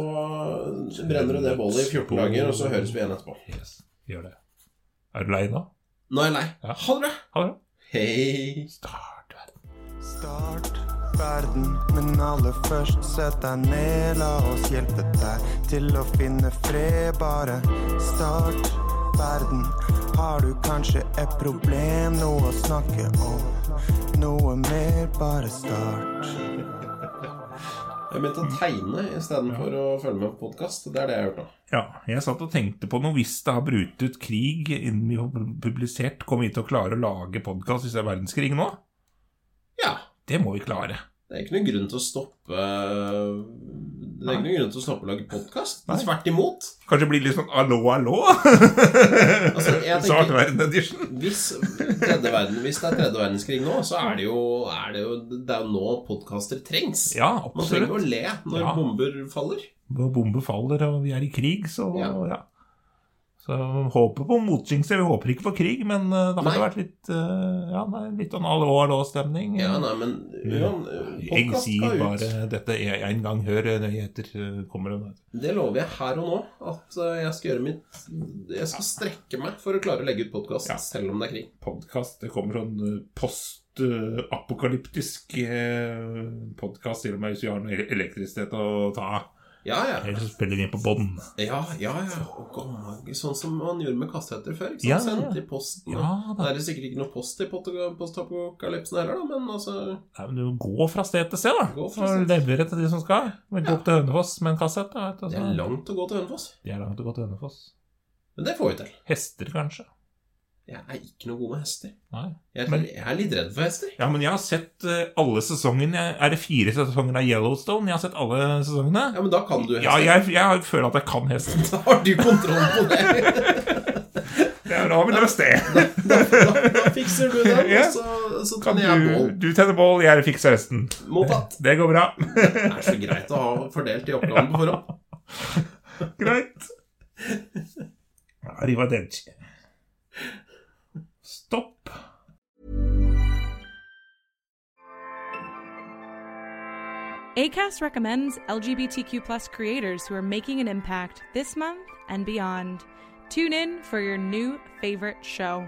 S2: brenner du det bålet i 14 dager, og så høres vi igjen etterpå.
S1: Yes, gjør det. Er du lei nå?
S2: Nå er jeg lei.
S1: Ja.
S2: Ha det bra!
S1: Ha det bra.
S2: Hei!
S1: Start verden.
S3: Start verden, men aller først sett deg ned. La oss hjelpe deg til å finne fred, bare start verden. Har du kanskje et problem, noe å snakke om? Noe mer, bare start.
S2: Jeg begynte å tegne istedenfor å følge med på podkast. Det er det jeg har gjort nå.
S1: Ja, jeg satt og tenkte på noe hvis det har brutt ut krig innen vi har publisert. Kommer vi til å klare å lage podkast hvis det er verdenskrig nå?
S2: Ja.
S1: Det må vi klare.
S2: Det er ikke noen grunn til å stoppe Det er ikke noen grunn til å stoppe å lage podkast.
S1: Nei.
S2: Tvert imot.
S1: Kanskje det blir litt sånn allo, allo?
S2: Altså, jeg tenker-
S1: Svart verden edition.
S2: Hvis, tredje verden, hvis det er tredje verdenskrig nå, så er det jo, er det jo, det er jo nå podkaster trengs.
S1: Ja,
S2: Man trenger jo
S1: absolutt.
S2: å le når
S1: Ja.
S2: bomber faller.
S1: Når bomber faller og vi er i krig, så ja.
S2: Ja.
S1: Så håper på motsjingser. Vi håper ikke på krig, men eh, det hadde
S2: Nei.
S1: vært litt eh, Ja, nei, litt sånn allo, allo-stemning.
S2: Ja, nei, men uan-
S1: Mm. jeg
S2: podcast
S1: sier
S2: skal ut.
S1: bare dette er en gang. Hør eh, nyheter. eh, Kommer det
S2: Det lover jeg her og nå, at eh, jeg skal gjøre mitt Jeg skal strekke meg for å klare å legge ut podkast
S1: Ja.
S2: selv om det er krig.
S1: podkast. Det kommer sånn eh, post-apokalyptisk podkast, til og med hvis vi har noe ele- elektrisitet å ta av.
S2: Ja, ja.
S1: Eller så spiller vi inn på bånd.
S2: ja, ja, ja. Og gammel- Sånn som man gjorde med kassetter før. Ikke sant?
S1: Ja, ja, ja.
S2: Sendt i posten.
S1: Ja
S2: Det
S1: da.
S2: er sikkert ikke noe post i pot- postapokalypsen heller, da, men altså
S1: Nei, men du går fra sted til sted, da.
S2: Gå fra sted
S1: Og leverer til de som skal. Men gå opp til Hønefoss med en kassett. Da, vet du,
S2: Det
S1: så-
S2: er langt å gå til Hønefoss.
S1: Det er langt å gå til Hønefoss.
S2: Men det får vi til.
S1: Hester, kanskje.
S2: Jeg er ikke noe god med hester.
S1: Nei.
S2: Jeg,
S1: Men-
S2: jeg er litt redd for hester.
S1: Ja, men jeg har sett eh, alle sesongene. Er det fire sesonger av Yellowstone? Jeg har sett alle sesongene.
S2: Ja, men da kan du hester.
S1: Ja, jeg, jeg føler at jeg kan hesten.
S2: Da har du kontroll på det.
S1: Jeg Ja, da har vi løst det.
S2: Da fikser du den,
S1: Ja.
S2: og så, så
S1: Kan
S2: tenner jeg
S1: du,
S2: bål.
S1: du tenner bål, jeg fikser resten.
S2: Mottatt.
S1: Det går bra.
S2: Det er så greit å ha fordelt de oppgavene på forhånd.
S1: Greit. Arrivederci. Stopp.
S4: ACAST recommends LGBTQ plus creators who are making an impact this month and beyond. Tune in for your new favorite show.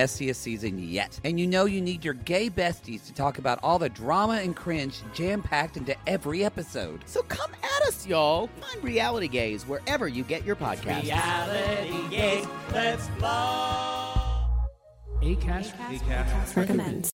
S5: messiest season yet. And you know you need your gay besties to talk about all the drama and cringe jam packed into every episode. So come at us, y'all. Find Reality Gaze wherever you get your podcasts. Reality Gaze, let's fly.
S4: recommends.